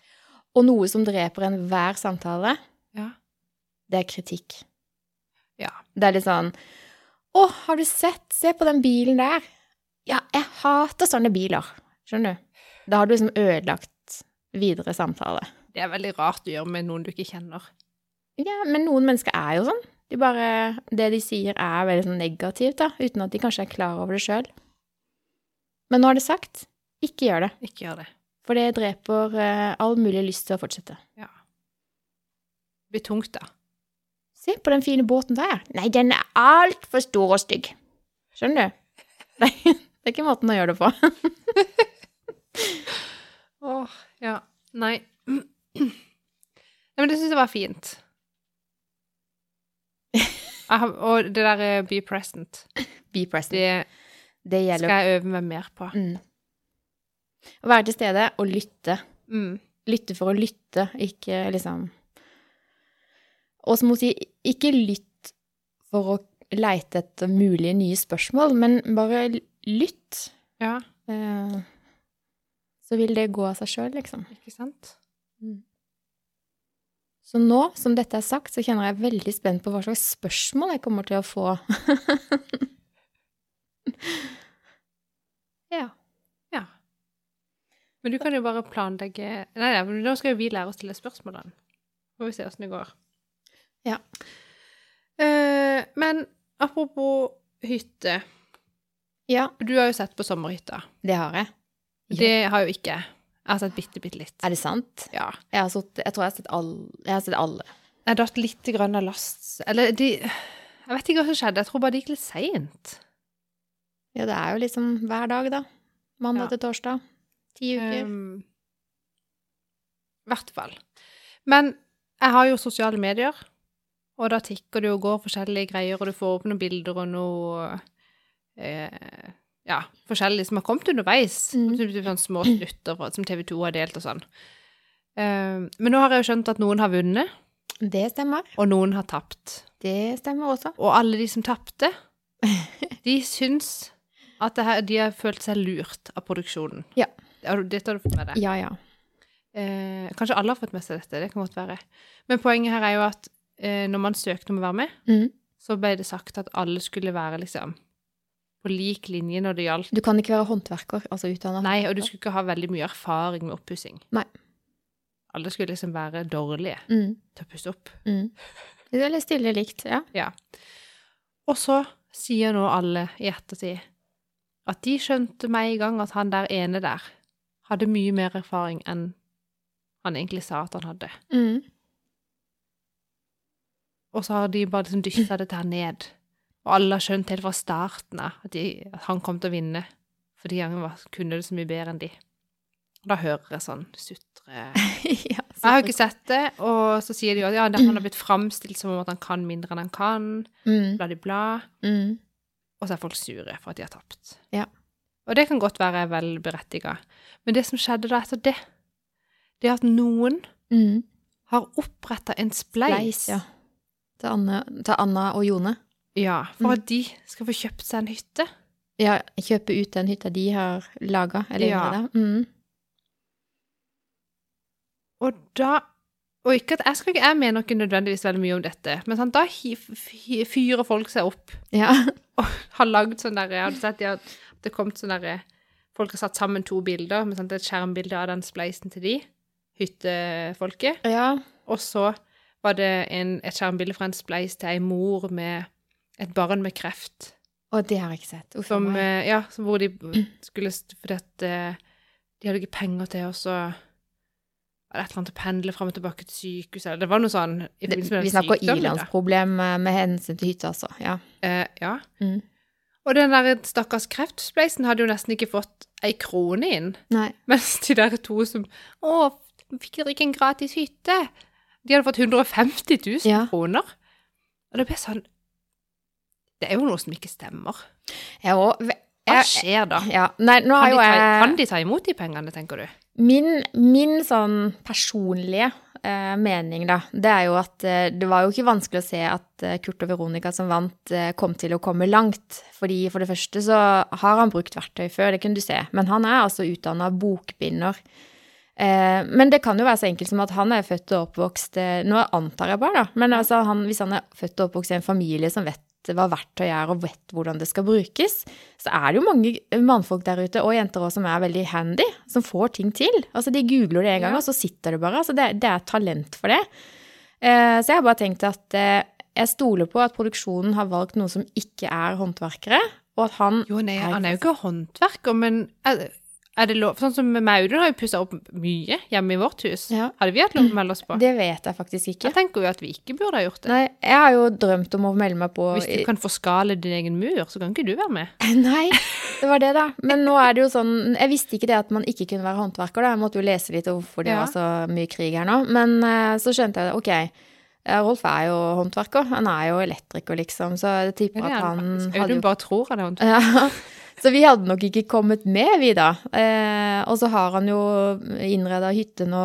S1: Og noe som dreper enhver samtale,
S2: Ja.
S1: det er kritikk.
S2: Ja.
S1: Det er litt sånn Å, har du sett? Se på den bilen der. Ja, jeg hater sånne biler. Skjønner du? Da har du liksom ødelagt videre samtale.
S2: Det er veldig rart å gjøre med noen du ikke kjenner.
S1: Ja, men noen mennesker er jo sånn. De bare, det de sier, er veldig sånn negativt, da, uten at de kanskje er klar over det sjøl. Men nå er det sagt, ikke gjør det,
S2: Ikke gjør det.
S1: for det dreper eh, all mulig lyst til å fortsette.
S2: Det blir tungt, da.
S1: Se på den fine båten der. Nei, den er altfor stor og stygg. Skjønner du? (laughs) Nei, det er ikke måten å gjøre det på. (laughs)
S2: Åh, ja. Nei. Nei, men det syns jeg var fint.
S1: (laughs)
S2: Jeg har, og det der eh, be present,
S1: Be present.
S2: det
S1: Det
S2: skal
S1: gjelder.
S2: jeg øve meg mer på.
S1: Mm. Å være til stede og lytte.
S2: Mm.
S1: lytte for å lytte, ikke liksom Og som hun sier, ikke lytt for å leite etter mulige nye spørsmål, men bare l- lytt.
S2: Ja,
S1: Eh, Så vil det gå av seg sjøl, liksom.
S2: ikke sant?
S1: Så nå som dette er sagt, så kjenner jeg veldig spent på hva slags spørsmål jeg kommer til å få. (laughs) ja.
S2: Ja. Men du kan jo bare planlegge Nei, nei, men nå skal jo vi lære å stille spørsmålene. Får vi se åssen det går.
S1: Ja.
S2: Eh, men apropos hytte.
S1: ja.
S2: Du har jo sett på sommerhytta.
S1: Det har jeg. Ja.
S2: Det har jo ikke jeg. Jeg har sett bitte, bitte litt.
S1: Er det sant?
S2: Ja.
S1: Jeg, har sott, jeg tror jeg har sett alle. Jeg har sett alle.
S2: Jeg datt litt grann av last Eller de Jeg vet ikke hva som skjedde. Jeg tror bare det gikk litt seint.
S1: Ja, det er jo liksom hver dag, da. Mandag
S2: Ja.
S1: til torsdag. Ti uker.
S2: Um, I hvert fall. Men jeg har jo sosiale medier, og da tikker det jo og går forskjellige greier, og du får opp noen bilder og noe eh, Ja, forskjellig som har kommet underveis.
S1: Mm.
S2: Som typ sånn små snutter fra- som TV 2 har delt og sånn. Um, men nå har jeg jo skjønt at noen har vunnet,
S1: det stemmer.
S2: og noen har tapt.
S1: Det stemmer også.
S2: Og alle de som tapte, de syns at det her, de har følt seg lurt av produksjonen.
S1: Ja.
S2: Har du- Dette har du fått med deg.
S1: Ja, ja.
S2: Eh, kanskje alle har fått med seg dette, det kan godt være. Men poenget her er jo at eh, når man søkte om å være med,
S1: Mm.
S2: så ble det sagt at alle skulle være liksom på lik linje når det gjaldt
S1: Du kan ikke være håndverker, altså utdanna.
S2: Nei, og du skulle ikke ha veldig mye erfaring med oppussing.
S1: Nei.
S2: Alle skulle liksom være dårlige
S1: Mm.
S2: til å pusse opp.
S1: Mm. Det er litt stille likt, ja.
S2: Og så sier nå alle i ettertid at de skjønte med en gang at han der ene der hadde mye mer erfaring enn han egentlig sa at han hadde.
S1: Mm. (laughs)
S2: Og så har de bare liksom dytta dette her ned. Og alle har skjønt helt fra starten av at, de, at han kom til å vinne, fordi han var, kunne det så mye bedre enn de. Og da hører jeg sånn sutre
S1: ja
S2: Jeg har jo ikke sett det, og så sier de jo at ja, han har blitt framstilt som om at han kan mindre enn han kan,
S1: mm.
S2: bla, bla, bla.
S1: Mm.
S2: Og så er folk sure for at de har tapt.
S1: Ja.
S2: Og det kan godt være vel berettiga. Men det som skjedde da etter det, det er at noen
S1: Mm.
S2: har oppretta en spleis.
S1: Leis, ja. Til Anna, til Anna og Jone.
S2: Ja,
S1: Mm.
S2: for at de skal få kjøpt seg en hytte.
S1: Ja, kjøpe ut den hytta de har laga, eller
S2: Ja.
S1: innreda. Mm.
S2: Og da Og ikke at jeg, skal, ikke- jeg mener ikke nødvendigvis veldig mye om dette, men sant, da hi- fi- fyrer folk seg opp. (laughs)
S1: Ja.
S2: Har lagd sånn derre Har du sett de har, det har kommet sånn derre Folk har satt sammen to bilder, med sant, et skjermbilde av den spleisen til de, hyttefolket.
S1: ja.
S2: Og så var det en, et skjermbilde fra en spleis til ei mor med et barn med kreft.
S1: Og det har jeg ikke sett. Uff,
S2: Som,
S1: meg.
S2: eh, ja, som hvor de skulle st- Fordi at eh, de hadde ikke penger til oss, og var det et eller annet å pendle fram og tilbake til sykehuset, eller det var noe sånn i
S1: Det,
S2: forbindelse med den
S1: vi snakker
S2: sykdommen, da.
S1: ilandsproblem eh, med hensyn til hytta, altså. Ja.
S2: Eh, ja.
S1: Mm.
S2: Og den der stakkars kreftspleisen hadde jo nesten ikke fått ei krone inn.
S1: Nei.
S2: (laughs) Mens de der to som Å, fikk dere ikke en gratis hytte? De hadde fått 150 000
S1: Ja.
S2: kroner. Og det ble sånn Det er jo noe som ikke stemmer.
S1: Jeg òg
S2: Hva
S1: jeg-
S2: skjer da?
S1: ja. Nei, nå
S2: Kan
S1: har
S2: de,
S1: jo
S2: ta,
S1: jeg
S2: kan de ta imot de pengene, tenker du?
S1: Min, min sånn personlige eh, mening, da, det er jo at eh, det var jo ikke vanskelig å se at eh, Kurt og Veronica som vant, eh, kom til å komme langt. Fordi for det første så har han brukt verktøy før, det kunne du se. Men han er altså utdanna bokbinder. Eh, men det kan jo være så enkelt som at han er født og oppvokst eh, Nå antar jeg bare, da. Men altså han, hvis han er født og oppvokst i en familie som vet hva verktøy er, og vet hvordan det skal brukes, så er det jo mange mannfolk der ute, og jenter også, som er veldig handy, som får ting til. Altså, de googler det en gang,
S2: Ja.
S1: og så sitter det bare. Altså, det, det er talent for det. Eh, så jeg har bare tenkt at eh, jeg stoler på at produksjonen har valgt noen som ikke er håndverkere, og at han
S2: Jo, nei, han er jo ikke håndverker, men er, er det lov Sånn som Maudun har jo pussa opp mye hjemme i vårt hus.
S1: Ja.
S2: Hadde vi hatt lov til å melde oss på?
S1: Det vet jeg faktisk ikke.
S2: Jeg tenker jo at vi ikke burde ha gjort det.
S1: Nei, jeg har jo drømt om å melde meg på
S2: Hvis du kan forskale din egen mur, så kan ikke du være med.
S1: (laughs) Nei, det var det, da. Men nå er det jo sånn Jeg visste ikke det at man ikke kunne være håndverker, da. Jeg måtte jo lese litt om hvorfor det
S2: Ja.
S1: var så mye krig her nå. Men eh, så skjønte jeg det. Ok, eh, Rolf er jo håndverker. Han er jo elektriker, liksom. Så jeg tipper
S2: Ja, det
S1: at
S2: er
S1: han
S2: det faktisk.
S1: hadde
S2: Audun
S1: jo
S2: bare tror han er håndverker.
S1: ja. Så vi hadde nok ikke kommet med, vi da. Eh, og så har han jo innreda hytte nå,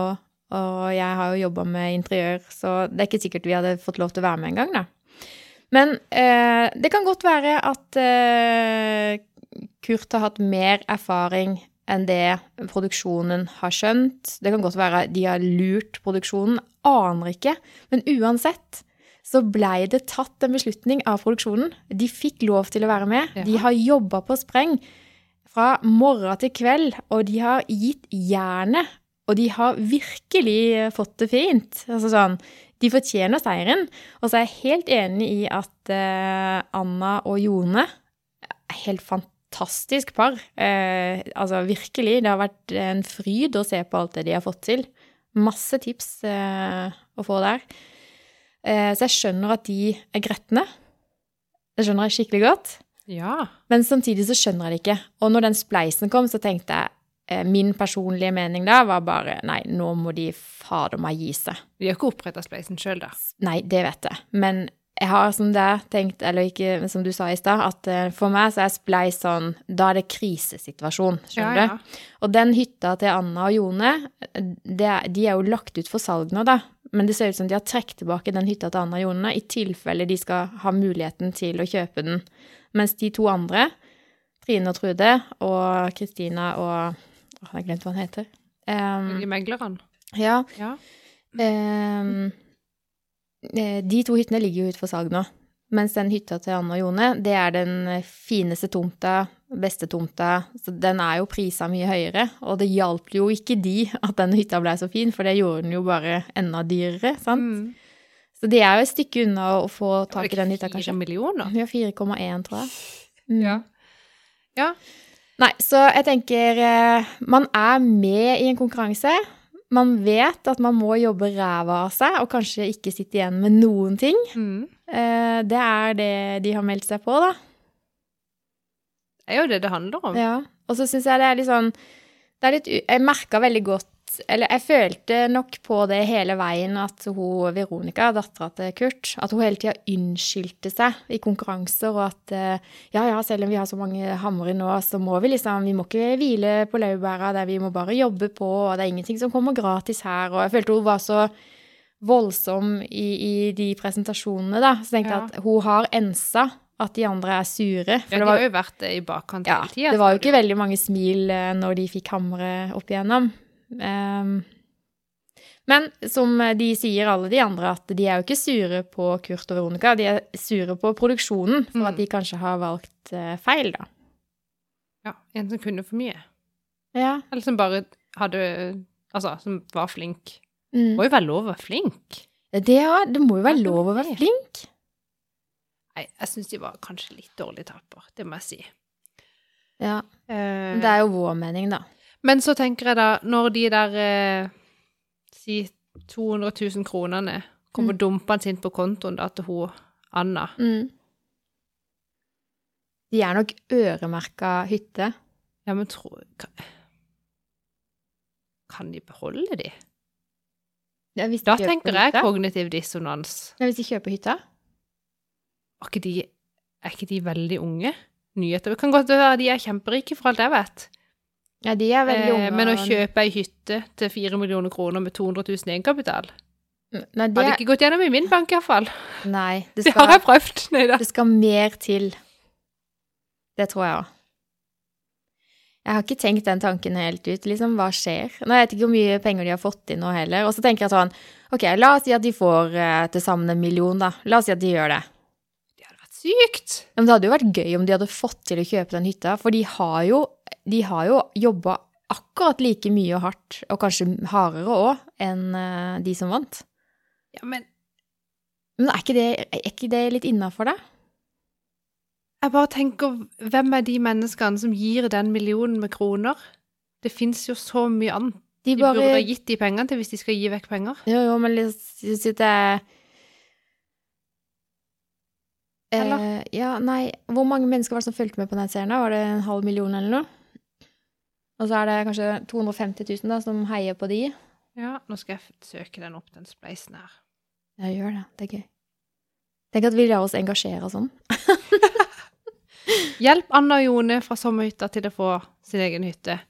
S1: og jeg har jo jobba med interiør, så det er ikke sikkert vi hadde fått lov til å være med engang, da. Men eh, det kan godt være at eh, Kurt har hatt mer erfaring enn det produksjonen har skjønt. Det kan godt være de har lurt produksjonen, aner ikke. Men uansett så blei det tatt en beslutning av produksjonen. De fikk lov til å være med.
S2: Ja.
S1: De har jobba på spreng fra morgen til kveld, og de har gitt jernet. Og de har virkelig fått det fint. Altså sånn, de fortjener seieren. Og så er jeg helt enig i at eh, Anna og Jone er helt fantastisk par. Eh, altså virkelig. Det har vært en fryd å se på alt det de har fått til. Masse tips eh, å få der. Eh, så jeg skjønner at de er gretne. Det skjønner jeg skikkelig godt.
S2: Ja.
S1: Men samtidig så skjønner jeg det ikke. Og når den spleisen kom, så tenkte jeg eh, Min personlige mening da var bare nei, nå må de fader meg gi seg.
S2: Vi har ikke oppretta Spleisen sjøl, da.
S1: Nei, det vet jeg. Men jeg har som det er tenkt, eller ikke men som du sa i stad, at eh, for meg så er spleis sånn Da er det krisesituasjon, skjønner du? Og den hytta til Anna og Jone, det, de er jo lagt ut for salg nå, da. Men det ser ut som de har trukket tilbake den hytta til Anna og Jone, i tilfelle de skal ha muligheten til å kjøpe den. Mens de to andre, Trine og Trude og Kristina og Åh, Jeg har glemt hva han heter.
S2: Ja.
S1: Ehm,
S2: De meglerne.
S1: ja,
S2: Ja.
S1: Ehm, eh, de to hyttene ligger jo ute for salg nå. Mens den hytta til Anne og Jone, det er den eh, fineste tomta, beste tomta. Så den er jo prisa mye høyere. Og det hjalp jo ikke de at den hytta blei så fin, for det gjorde den jo bare enda dyrere. sant?
S2: Mm.
S1: Så de er jo et stykke unna å få tak i den hytta,
S2: Fire
S1: kanskje.
S2: millioner.
S1: Ja, 4,1, tror jeg. Mm.
S2: Ja.
S1: Nei, så jeg tenker eh, Man er med i en konkurranse. Man vet at man må jobbe ræva av seg og kanskje ikke sitte igjen med noen ting.
S2: Mm.
S1: Eh, Det er det de har meldt seg på, da.
S2: Det er jo det det handler om.
S1: Ja. Og så syns jeg det er litt sånn det er litt, u- Jeg merka veldig godt Eller jeg følte nok på det hele veien at hun Veronica, dattera til Kurt, at hun hele tida unnskyldte seg i konkurranser, og at eh, ja, ja, selv om vi har så mange hamre nå, så må vi liksom Vi må ikke hvile på laurbæra, det er- vi må bare jobbe på, og det er ingenting som kommer gratis her, og jeg følte hun var så voldsom i, i de presentasjonene, da. Så tenkte jeg
S2: Ja.
S1: at hun har ensa at de andre er sure.
S2: Ja,
S1: det
S2: de
S1: var-
S2: har jo vært det i bakkant
S1: ja,
S2: hele tida.
S1: det var jo ikke veldig mange smil eh, når de fikk hammeret opp igjennom. Ehm, men som eh, de sier, alle de andre, at de er jo ikke sure på Kurt og Veronica. De er sure på produksjonen for
S2: Mm.
S1: at de kanskje har valgt eh, feil, da.
S2: Ja, en som kunne for mye.
S1: Ja.
S2: Eller som bare hadde Altså, som var flink. Det
S1: Mm.
S2: må jo være lov å være flink.
S1: Det, ja, det må jo være lov å være flink.
S2: Nei, jeg syns de var kanskje litt dårlige taper. Det må jeg si.
S1: Ja.
S2: Eh,
S1: Det er jo vår mening, da.
S2: Men så tenker jeg da, når de der eh, si 200 000 kronene kommer
S1: Mm.
S2: dumpende inn på kontoen da til hun Anna
S1: Mm. De er nok øremerka hytte.
S2: Ja, men tro kan, kan de beholde de?
S1: Ja, hvis de
S2: Da
S1: kjøper
S2: tenker jeg
S1: hytta.
S2: kognitiv dissonans.
S1: Ja, Hvis de kjøper hytta?
S2: Er ikke de, er ikke de veldig unge? Nyheter Det kan godt være de er kjemperike, for alt jeg vet.
S1: Ja, de er veldig
S2: Eh,
S1: unge.
S2: men å
S1: og-
S2: kjøpe ei hytte til 4 millioner kroner med 200 000 i egenkapital
S1: Nei,
S2: Hadde
S1: det,
S2: ikke gått gjennom i min bank, iallfall.
S1: nei det,
S2: Det har
S1: skal,
S2: jeg prøvd. Nei da.
S1: det skal mer til. Det tror jeg òg. Jeg har ikke tenkt den tanken helt ut. Liksom, hva skjer? Nå, jeg vet ikke hvor mye penger de har fått inn nå heller. Og så tenker jeg sånn Ok, la oss si at de får eh, til sammen en million, da. La oss si at de gjør det.
S2: Det hadde vært sykt.
S1: Ja, Men det hadde jo vært gøy om de hadde fått til å kjøpe den hytta, for de har jo, de har jo jobba akkurat like mye og hardt, og kanskje hardere òg, enn eh, de som vant.
S2: Ja, men
S1: Men er ikke det, er ikke det litt innafor, da?
S2: jeg bare tenker, hvem er de menneskene som gir den millionen med kroner? Det fins jo så mye annet
S1: De
S2: de
S1: bare
S2: burde ha gitt de pengene til hvis de skal gi vekk penger.
S1: Jo, jo, men liksom sitter jeg
S2: Eller?
S1: Eh, ja, nei Hvor mange mennesker var det som fulgte med på den serien? da? Var det en halv million eller noe? Og så er det kanskje 250 000 da, som heier på de.
S2: Ja, nå skal jeg f- søke den opp, den spleisen her.
S1: Ja, gjør det. Det er gøy. Tenk at vi lar oss engasjere sånn.
S2: Hjelp Anna og Jone fra sommerhytta til å få sin egen hytte.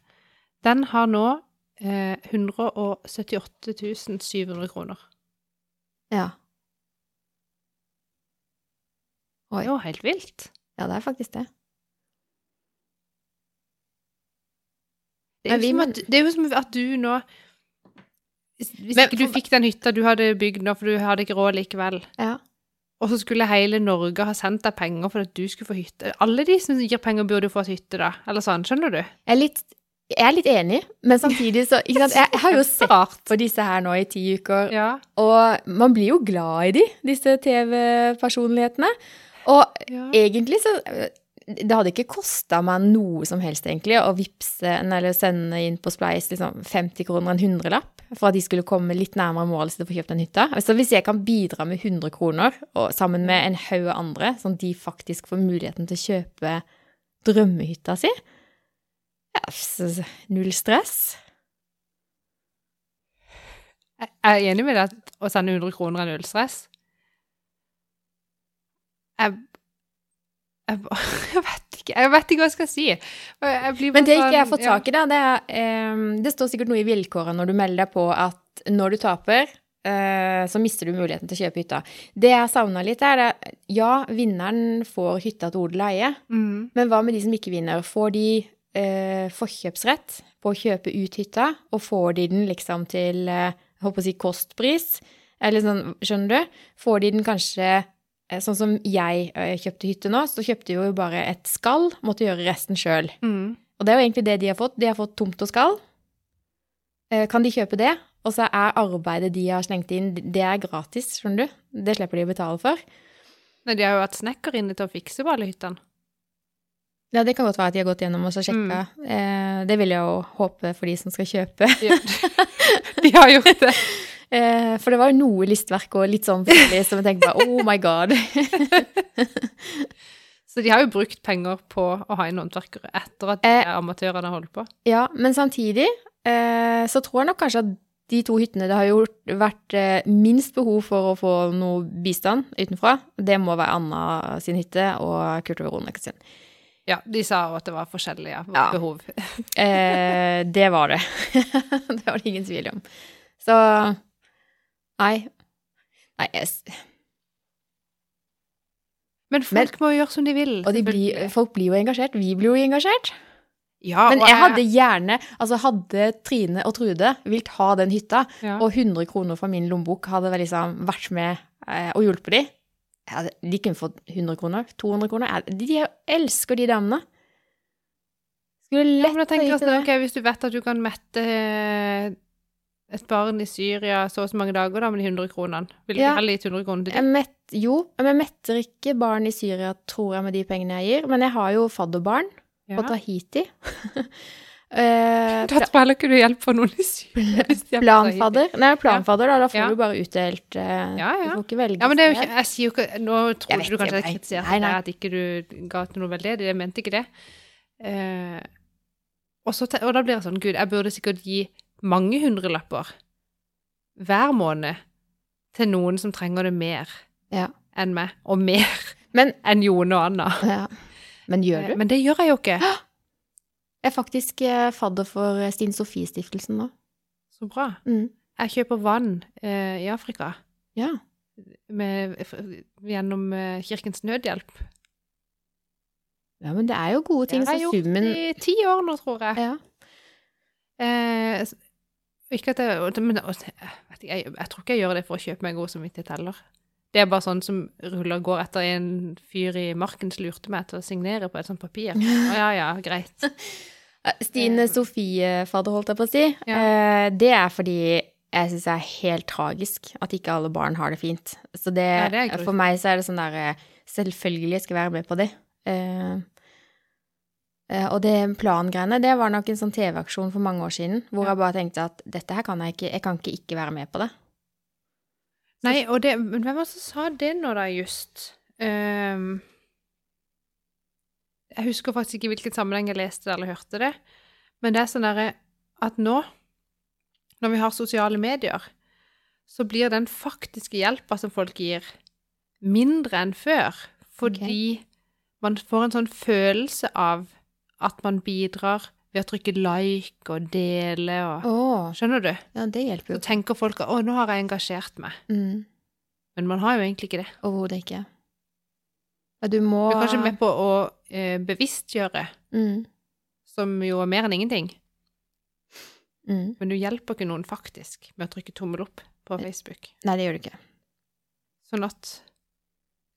S2: Den har nå eh, 178 700 kroner.
S1: Ja.
S2: Det er jo helt vilt.
S1: Ja, det er faktisk det.
S2: Det
S1: Men
S2: er,
S1: vi
S2: jo
S1: må-
S2: som at, det er jo som at du nå Hvis, hvis
S1: Men
S2: ikke du
S1: for-
S2: fikk den hytta du hadde bygd nå, for du hadde ikke råd likevel,
S1: Ja.
S2: og så skulle hele Norge ha sendt deg penger for at du skulle få hytte Alle de som gir penger, burde jo fått hytte, da. Eller sånn, skjønner du?
S1: Jeg er litt, jeg er litt enig, men samtidig så ikke sant? Jeg, jeg (laughs) har jo sett
S2: Rart.
S1: på disse her nå i ti uker,
S2: Ja.
S1: og man blir jo glad i de, disse TV-personlighetene. Og
S2: ja.
S1: egentlig så eh, Det hadde ikke kosta meg noe som helst, egentlig, å vippse en- eller sende inn på Spleis liksom 50 kroner, en hundrelapp, for at de skulle komme litt nærmere målet sitt og få kjøpt den hytta. Så hvis jeg kan bidra med 100 kroner, og sammen med en haug andre, sånn at de faktisk får muligheten til å kjøpe drømmehytta si ja, s- s- Null stress.
S2: Jeg jeg er enig med deg at å sende 100 kroner er null stress. Jeg, jeg, (laughs) ba- jeg vet ikke Jeg vet ikke hva jeg skal si. Og Jeg blir
S1: Men det
S2: bare
S1: ikke jeg har fått
S2: sånn-
S1: tak i, da, det er ehm, Det står sikkert noe i vilkårene når du melder deg på at når du taper, eh, så mister du muligheten til å kjøpe hytta. Det jeg savna litt, er det Ja, vinneren får hytta til odel og eie,
S2: Ja. Mm.
S1: men hva med de som ikke vinner? Får de eh, forkjøpsrett på å kjøpe ut hytta, og får de den liksom til eh, jeg håper å si kostpris? Eller sånn, skjønner du? Får de den kanskje eh, Sånn som jeg eh, kjøpte hytte nå, så kjøpte jeg jo bare et skall, måtte gjøre resten sjøl.
S2: Mm.
S1: Og det er jo egentlig det de har fått. De har fått tomt og skall. Eh, Kan de kjøpe det? Og så er arbeidet de har slengt inn, det er gratis, skjønner du. Det slipper de å betale for.
S2: Nei, de har jo hatt snekker inne til å fikse på alle hyttene.
S1: Ja, det kan godt være at de har gått gjennom og så sjekka. Eh, Det vil jeg jo håpe for de som skal kjøpe. (laughs)
S2: De, (laughs) de har gjort det.
S1: Eh, For det var jo noe listverk og litt sånn forskjellig som jeg tenkte bare oh my god. (laughs)
S2: Så de har jo brukt penger på å ha inn håndverkere etter at de
S1: Eh.
S2: der amatørene har holdt på.
S1: Ja, men samtidig eh, så tror jeg nok kanskje at de to hyttene det har gjort, vært eh, minst behov for å få noe bistand utenfra. Det må være Anna sin hytte og Kurt og Veronica sin.
S2: Ja, De sa jo at det var forskjellige
S1: Ja.
S2: behov.
S1: Eh, det var det. (laughs) det var det ingen tvil om. Så Nei. Nei jeg, s-
S2: Men folk må jo gjøre som de vil.
S1: og de blir,
S2: selvfølgelig.
S1: folk blir jo engasjert. Vi blir jo engasjert.
S2: ja,
S1: Men
S2: og
S1: jeg hadde gjerne Altså, hadde Trine og Trude vilt ha den hytta,
S2: ja.
S1: og 100 kroner fra min lommebok hadde vel liksom vært med eh, og hjulpet de jeg hadde, De kunne fått 100 kroner, 200 kroner Jeg- De, de elsker de damene. Skulle
S2: Ja, men
S1: lett
S2: da
S1: ha
S2: tenker
S1: gitt
S2: jeg sånn,
S1: det.
S2: ok, Hvis du vet at du kan mette eh, et barn i Syria så og så mange dager da, med de 100 kronene, vil du
S1: Ja.
S2: ikke heller gitt 100 kroner til
S1: Jeg
S2: dem?
S1: mett, jo, men jeg metter ikke barn i Syria, tror jeg, med de pengene jeg gir. Men jeg har jo fadderbarn på
S2: Ja.
S1: Tahiti. (laughs) Eh,
S2: Da spiller ikke du hjelp for noen i syvende. hvis de er på Tahiti.
S1: planfadder? Nei, planfadder, da. Da får
S2: Ja.
S1: du bare utdelt eh,
S2: Ja, ja.
S1: Du får ikke velge
S2: Ja, men det er jo
S1: sted.
S2: ikke, jeg sier jo ikke, Nå
S1: Jeg
S2: trodde
S1: vet
S2: du kanskje
S1: det,
S2: jeg
S1: nei.
S2: kritiserte
S1: Nei,
S2: deg
S1: nei.
S2: at ikke du ga til noe veldedig. Jeg mente ikke det. Eh, og, så, te- og da blir jeg sånn Gud, jeg burde sikkert gi mange hundrelapper hver måned til noen som trenger det mer
S1: Ja.
S2: enn meg, og mer
S1: (laughs) Men,
S2: enn Jone og Anna.
S1: ja. men gjør
S2: Eh,
S1: du?
S2: Men det gjør jeg jo ikke.
S1: Jeg er faktisk eh, fadder for eh, Stine Sofie-stiftelsen nå.
S2: Så bra.
S1: Mm.
S2: Jeg kjøper vann eh, i Afrika
S1: Ja.
S2: med, f- gjennom eh, Kirkens Nødhjelp.
S1: ja, men det er jo gode ting,
S2: Det har jeg
S1: så
S2: gjort
S1: summen
S2: i ti år nå, tror jeg.
S1: ja.
S2: Eh, s- ikke at jeg, og det- men, og det- jeg, vet ikke, jeg, jeg tror ikke jeg gjør det for å kjøpe meg god samvittighet heller. Det er bare sånn som ruller og går etter en fyr i marken som lurte meg til å signere på et sånt papir. Å, ja, ja, greit.
S1: Stine
S2: Eh,
S1: Sofie-fadder, holdt jeg på å si. Eh, Det er fordi jeg syns det er helt tragisk at ikke alle barn har det fint. Så det,
S2: Ja, det er grusomt.
S1: for meg så er det sånn der eh, Selvfølgelig jeg skal være med på det. Eh, eh, Og det plangreiene, det var nok en sånn TV-aksjon for mange år siden, hvor
S2: Ja.
S1: jeg bare tenkte at dette her kan jeg ikke, jeg kan ikke ikke være med på det.
S2: Nei, og det, men hvem var det som sa det nå da, just? Ehm, jeg husker faktisk ikke i hvilken sammenheng jeg leste det eller hørte det, men det er sånn derre at nå, når vi har sosiale medier, så blir den faktiske hjelpa som folk gir, mindre enn før, fordi man får en sånn følelse av at man bidrar ved å trykke like og dele og
S1: Å,
S2: Skjønner du?
S1: ja, det hjelper
S2: Så
S1: jo.
S2: tenker folk at 'å, nå har jeg engasjert meg',
S1: Mm,
S2: men man har jo egentlig ikke det.
S1: Overhodet ikke. Ja, du må
S2: Du er kanskje med på å eh, bevisstgjøre,
S1: mm,
S2: som jo er mer enn ingenting.
S1: mm.
S2: Men du hjelper ikke noen faktisk med å trykke tommel opp på Facebook.
S1: Nei, det gjør du ikke.
S2: Sånn at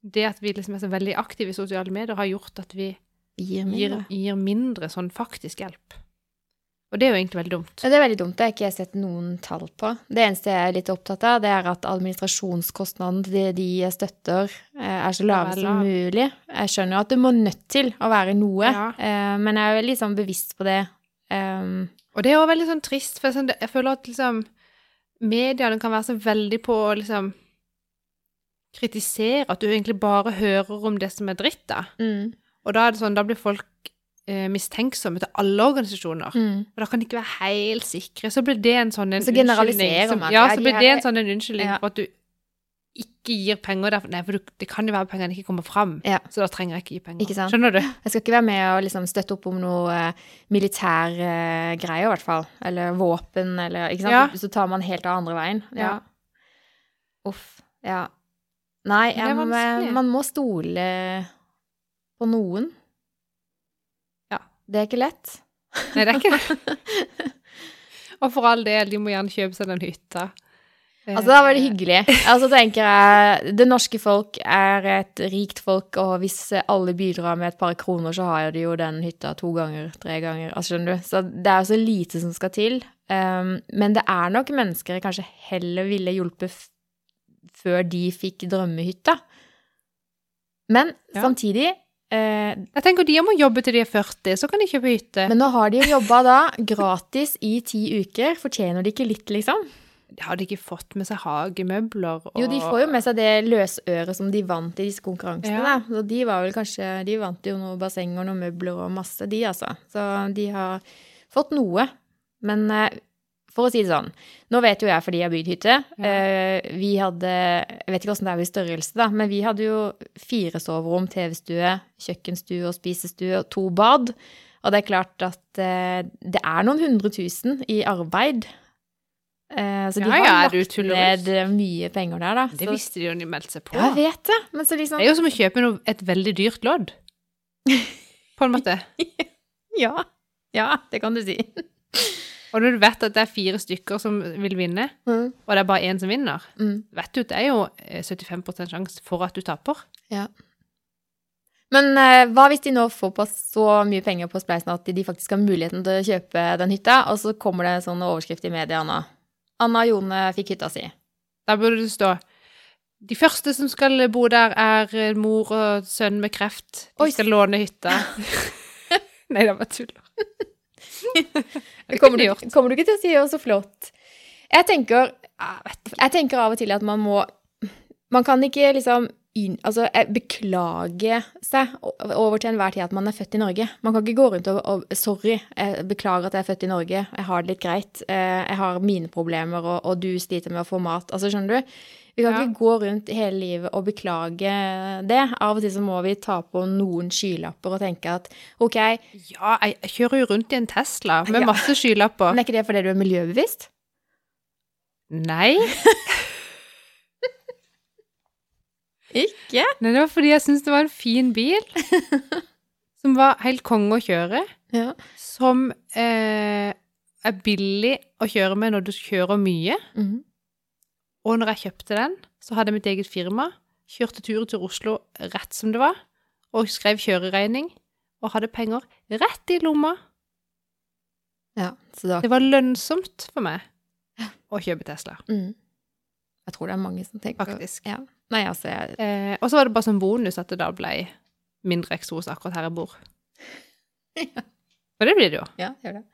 S2: det at vi liksom er så veldig aktive i sosiale medier, har gjort at vi
S1: Gir
S2: gir,
S1: mindre.
S2: gir mindre sånn faktisk hjelp. Og det er jo egentlig veldig dumt.
S1: Ja, Det er veldig dumt. Det har ikke jeg sett noen tall på. Det eneste jeg er litt opptatt av, det er at administrasjonskostnaden til det de jeg støtter, eh, er så lave
S2: Skal være
S1: som
S2: lav.
S1: mulig. Jeg skjønner jo at det må nødt til å være noe,
S2: Ja.
S1: eh, men jeg er veldig sånn bevisst på det. Um,
S2: Og det er jo veldig sånn trist, for sånn, det- jeg føler at liksom mediene kan være så veldig på å liksom kritisere at du egentlig bare hører om det som er dritt, da.
S1: mm,
S2: Og da er det sånn, da blir folk eh, mistenksomme til alle organisasjoner.
S1: mm.
S2: Og da kan de ikke være helt sikre. Så blir det en sånn en
S1: Så generaliserer
S2: unnskyldning som-
S1: man.
S2: Ja,
S1: Ja,
S2: så
S1: de
S2: blir
S1: her
S2: det
S1: er-
S2: en sånn en unnskyldning
S1: Ja.
S2: for at du ikke gir penger der. Nei, for du, det kan jo være pengene ikke kommer fram.
S1: Ja.
S2: Så da trenger jeg ikke gi penger.
S1: Ikke sant?
S2: Skjønner du?
S1: Jeg skal ikke være med og liksom støtte opp om noe eh, militær eh, greie, i hvert fall. Eller våpen, eller ikke sant?
S2: Ja.
S1: Så tar man helt av andre veien.
S2: Ja.
S1: Uff. Ja. Nei,
S2: Men det er
S1: jeg må-
S2: vanskelig.
S1: man må stole på noen.
S2: Ja.
S1: Det er ikke lett.
S2: Nei, det er ikke det.
S1: (laughs)
S2: Og for all del, de må gjerne kjøpe seg den hytta. Eh,
S1: Altså, da var det hyggelig. Altså, tenker jeg, Det norske folk er et rikt folk, og hvis alle bidrar med et par kroner, så har de jo den hytta to ganger, tre ganger. altså skjønner du? Så det er jo så lite som skal til. Um, men det er nok mennesker jeg kanskje heller ville hjulpet f før de fikk drømmehytta. Men
S2: Ja.
S1: samtidig eh,
S2: Jeg tenker de må jobbe til de er 40, så kan de kjøpe hytte.
S1: Men nå har de jo jobba da gratis i ti uker. Fortjener de ikke litt, liksom?
S2: de hadde ikke fått med seg hagemøbler og
S1: Jo, de får jo med seg det løsøret som de vant i disse konkurransene.
S2: Ja.
S1: Da. Så de var vel kanskje De vant jo noe basseng og noen møbler og masse, de, altså. Så de har fått noe. Men eh, for å si det sånn, nå vet jo jeg fordi jeg har bygd hytte.
S2: Ja.
S1: eh, Vi hadde Jeg vet ikke åssen det er i størrelse, da, men vi hadde jo fire soverom, TV-stue, kjøkkenstue og spisestue og to bad. Og det er klart at eh, det er noen hundre tusen i arbeid. Eh, Så de
S2: Ja,
S1: har
S2: ja,
S1: lagt
S2: du tuller
S1: ned
S2: ut.
S1: eh, mye penger der, da.
S2: Det
S1: Så-
S2: visste de jo når de meldte seg på.
S1: ja, jeg vet det. Men så liksom
S2: Det er jo som å kjøpe noe, et veldig dyrt
S1: (laughs)
S2: lodd. På en måte.
S1: Ja. Ja, det kan du si.
S2: Og når du vet at det er fire stykker som vil vinne,
S1: Mm.
S2: og det er bare én som vinner,
S1: Mm.
S2: vet du at det er jo eh, 75 sjanse for at du taper.
S1: Men eh, hva hvis de nå får på så mye penger på Spleisen at de faktisk har muligheten til å kjøpe den hytta, og så kommer det en sånn overskrift i media, Anna. Anna og Jone fikk hytta si.
S2: Da burde det stå de første som skal bo der, er eh, mor og sønn med kreft. De
S1: Oi. (laughs)
S2: skal låne hytta. Nei, (laughs) det var tuller.
S1: Kommer
S2: Det kunne
S1: du,
S2: jeg gjort.
S1: kommer du ikke til å si 'å, så flott'? Jeg tenker, jeg tenker av og til at man må Man kan ikke liksom inn- altså, eh, beklage seg o- over til enhver tid at man er født i Norge. Man kan ikke gå rundt og, og 'sorry, jeg beklager at jeg er født i Norge, jeg har det litt greit', eh, 'jeg har mine problemer, og, og du sliter med å få mat'. Altså, skjønner du? Vi kan
S2: Ja.
S1: ikke gå rundt hele livet og beklage det. Av og til så må vi ta på noen skylapper og tenke at ok, men
S2: Ja, jeg jeg kjører jo rundt i en Tesla med
S1: Ja.
S2: masse skylapper.
S1: er ikke det fordi du er miljøbevisst?
S2: Nei.
S1: Ikke?
S2: Nei, det var fordi jeg syntes det var en fin bil, som var helt konge å kjøre,
S1: Ja.
S2: som eh, er billig å kjøre med når du kjører mye.
S1: Mhm.
S2: Og når jeg kjøpte den, så hadde jeg mitt eget firma, kjørte turen til Oslo rett som det var, og skrev kjøreregning, og hadde penger rett i lomma.
S1: ja. Så da
S2: Det var lønnsomt for meg å kjøpe Tesla,
S1: mm. Jeg tror det er mange som tenker
S2: faktisk.
S1: Ja. Nei, altså jeg,
S2: Eh, og så var det bare sånn bonus at det da ble mindre eksos akkurat her jeg bor.
S1: Ja.
S2: Og det blir det jo.
S1: Ja, gjør det.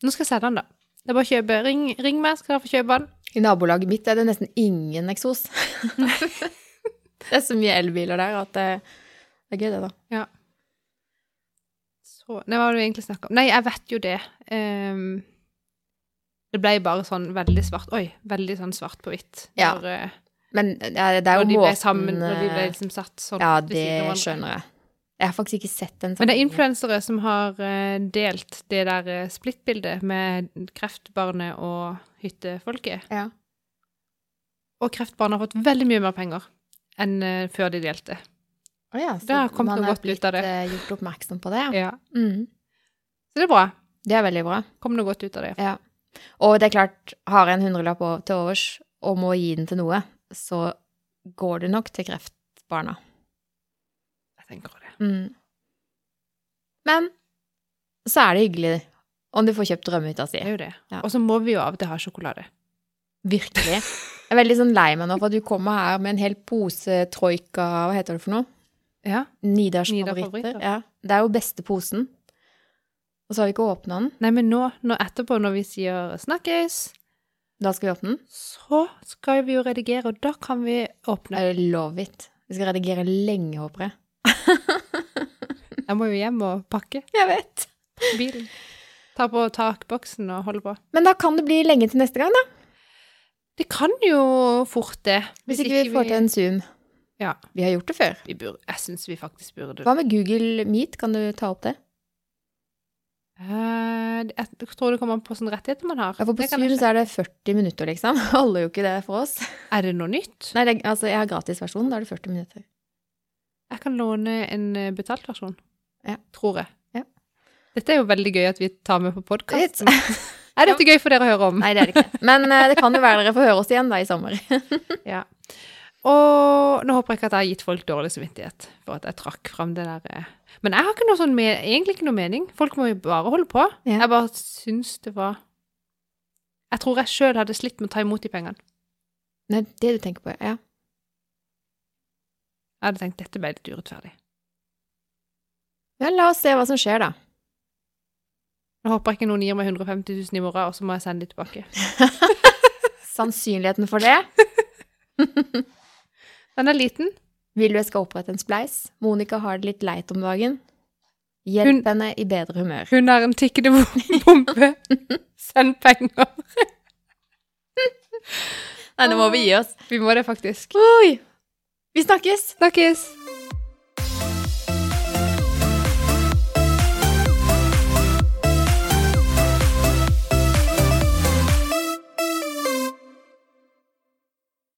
S2: Nå skal jeg sende den, da. Det er bare å kjøpe. Ring, ring meg, skal dere få kjøpe den.
S1: I nabolaget mitt er det nesten ingen
S2: (laughs)
S1: eksos. det er så mye elbiler der at det, det er gøy, det, da.
S2: Så, nei, hva var det vi egentlig snakket om? Nei, jeg vet jo det. Ehm, det ble bare sånn veldig svart. Oi, veldig sånn svart på hvitt.
S1: Ja.
S2: Når, eh,
S1: Men eh, det er
S2: når
S1: jo
S2: de ble
S1: måten
S2: sammen, når de ble
S1: eh,
S2: liksom satt sånn.
S1: Ja,
S2: ved
S1: det
S2: siden av hverandre.
S1: skjønner jeg. Jeg har faktisk ikke sett den
S2: Men det er
S1: sammenhengen.
S2: influensere som har eh, delt det der eh, splittbildet med kreftbarnet og hyttefolket.
S1: Ja.
S2: Og kreftbarnet har fått veldig mye mer penger enn eh, før de delte.
S1: Å ja, så
S2: Det har kommet
S1: man
S2: noe
S1: er
S2: godt ut av det.
S1: blitt, eh, gjort oppmerksom på det, ja.
S2: Ja.
S1: Mm.
S2: Så det er bra.
S1: Det er veldig bra.
S2: Kom noe godt ut av det.
S1: Ja. Og det er klart, har jeg en hundrelapp å- til overs og må gi den til noe, så går det nok til kreftbarna.
S2: Jeg tenker det.
S1: Mm. Men så er det hyggelig om du får kjøpt drømmehytta si.
S2: Det er jo det.
S1: Ja.
S2: Og så må vi jo av og til ha sjokolade.
S1: Virkelig. Jeg er veldig sånn lei meg nå for at du kommer her med en hel pose troika, hva heter det for noe?
S2: Ja.
S1: Nidars
S2: Nidar
S1: favoritter.
S2: favoritter.
S1: Ja. Det er jo beste posen. Og så har vi ikke åpna den.
S2: Nei, men nå, nå etterpå, når vi sier 'snakkes',
S1: Da skal vi åpne den.
S2: så skal vi jo redigere, og da kan vi åpne.
S1: I love it. Vi skal redigere lenge, håper jeg.
S2: Jeg må jo hjem og pakke
S1: Jeg vet.
S2: bilen. Ta på takboksen og holde på.
S1: Men da kan det bli lenge til neste gang, da.
S2: Det kan jo fort det.
S1: Hvis ikke vi får til en Zoom.
S2: Ja.
S1: Vi har gjort det før.
S2: vi bur- Jeg syns vi faktisk burde
S1: Hva med Google Meet? Kan du ta opp det?
S2: Eh, Jeg tror det kommer an på sånne rettigheter man har.
S1: Ja, for på
S2: Det kan
S1: Zoom
S2: jeg ikke-
S1: så er det 40 minutter, liksom. (laughs) Holder jo ikke det for oss.
S2: Er det noe nytt?
S1: Nei, det, er- altså, jeg har gratisversjonen. Da er det 40 minutter.
S2: Jeg kan låne en eh, betalt versjon.
S1: Ja.
S2: Tror jeg.
S1: Ja.
S2: Dette er jo veldig gøy at vi tar med på
S1: (laughs)
S2: podkasten.
S1: Litt.
S2: Er dette gøy for dere å høre om?
S1: Nei, det er det ikke. Men eh, det kan jo være dere får høre oss igjen da i sommer. Mm.
S2: Ja. Og nå håper jeg ikke at jeg har gitt folk dårlig samvittighet for at jeg trakk fram det der. eh. Men jeg har ikke noe sånn me- egentlig ikke noe mening. Folk må jo bare holde på.
S1: Ja.
S2: Jeg bare syns det var Jeg tror jeg sjøl hadde slitt med å ta imot de pengene.
S1: Nei, det du tenker på, ja.
S2: Jeg hadde tenkt dette ble litt urettferdig.
S1: Ja, la oss se hva som skjer, da.
S2: Nå håper jeg ikke noen gir meg 150 000 i morgen, og så må jeg sende de tilbake.
S1: Sannsynligheten for det.
S2: Den er liten.
S1: Vil du jeg skal opprette en spleis? Monica har det litt leit om dagen. Hjelp
S2: Hun-
S1: henne i bedre humør.
S2: Hun er en tikkende (laughs) bom- bombe. Send penger.
S1: Nei, nå må vi gi oss.
S2: Vi må det faktisk.
S1: Oi! Vi snakkes!
S2: Snakkes!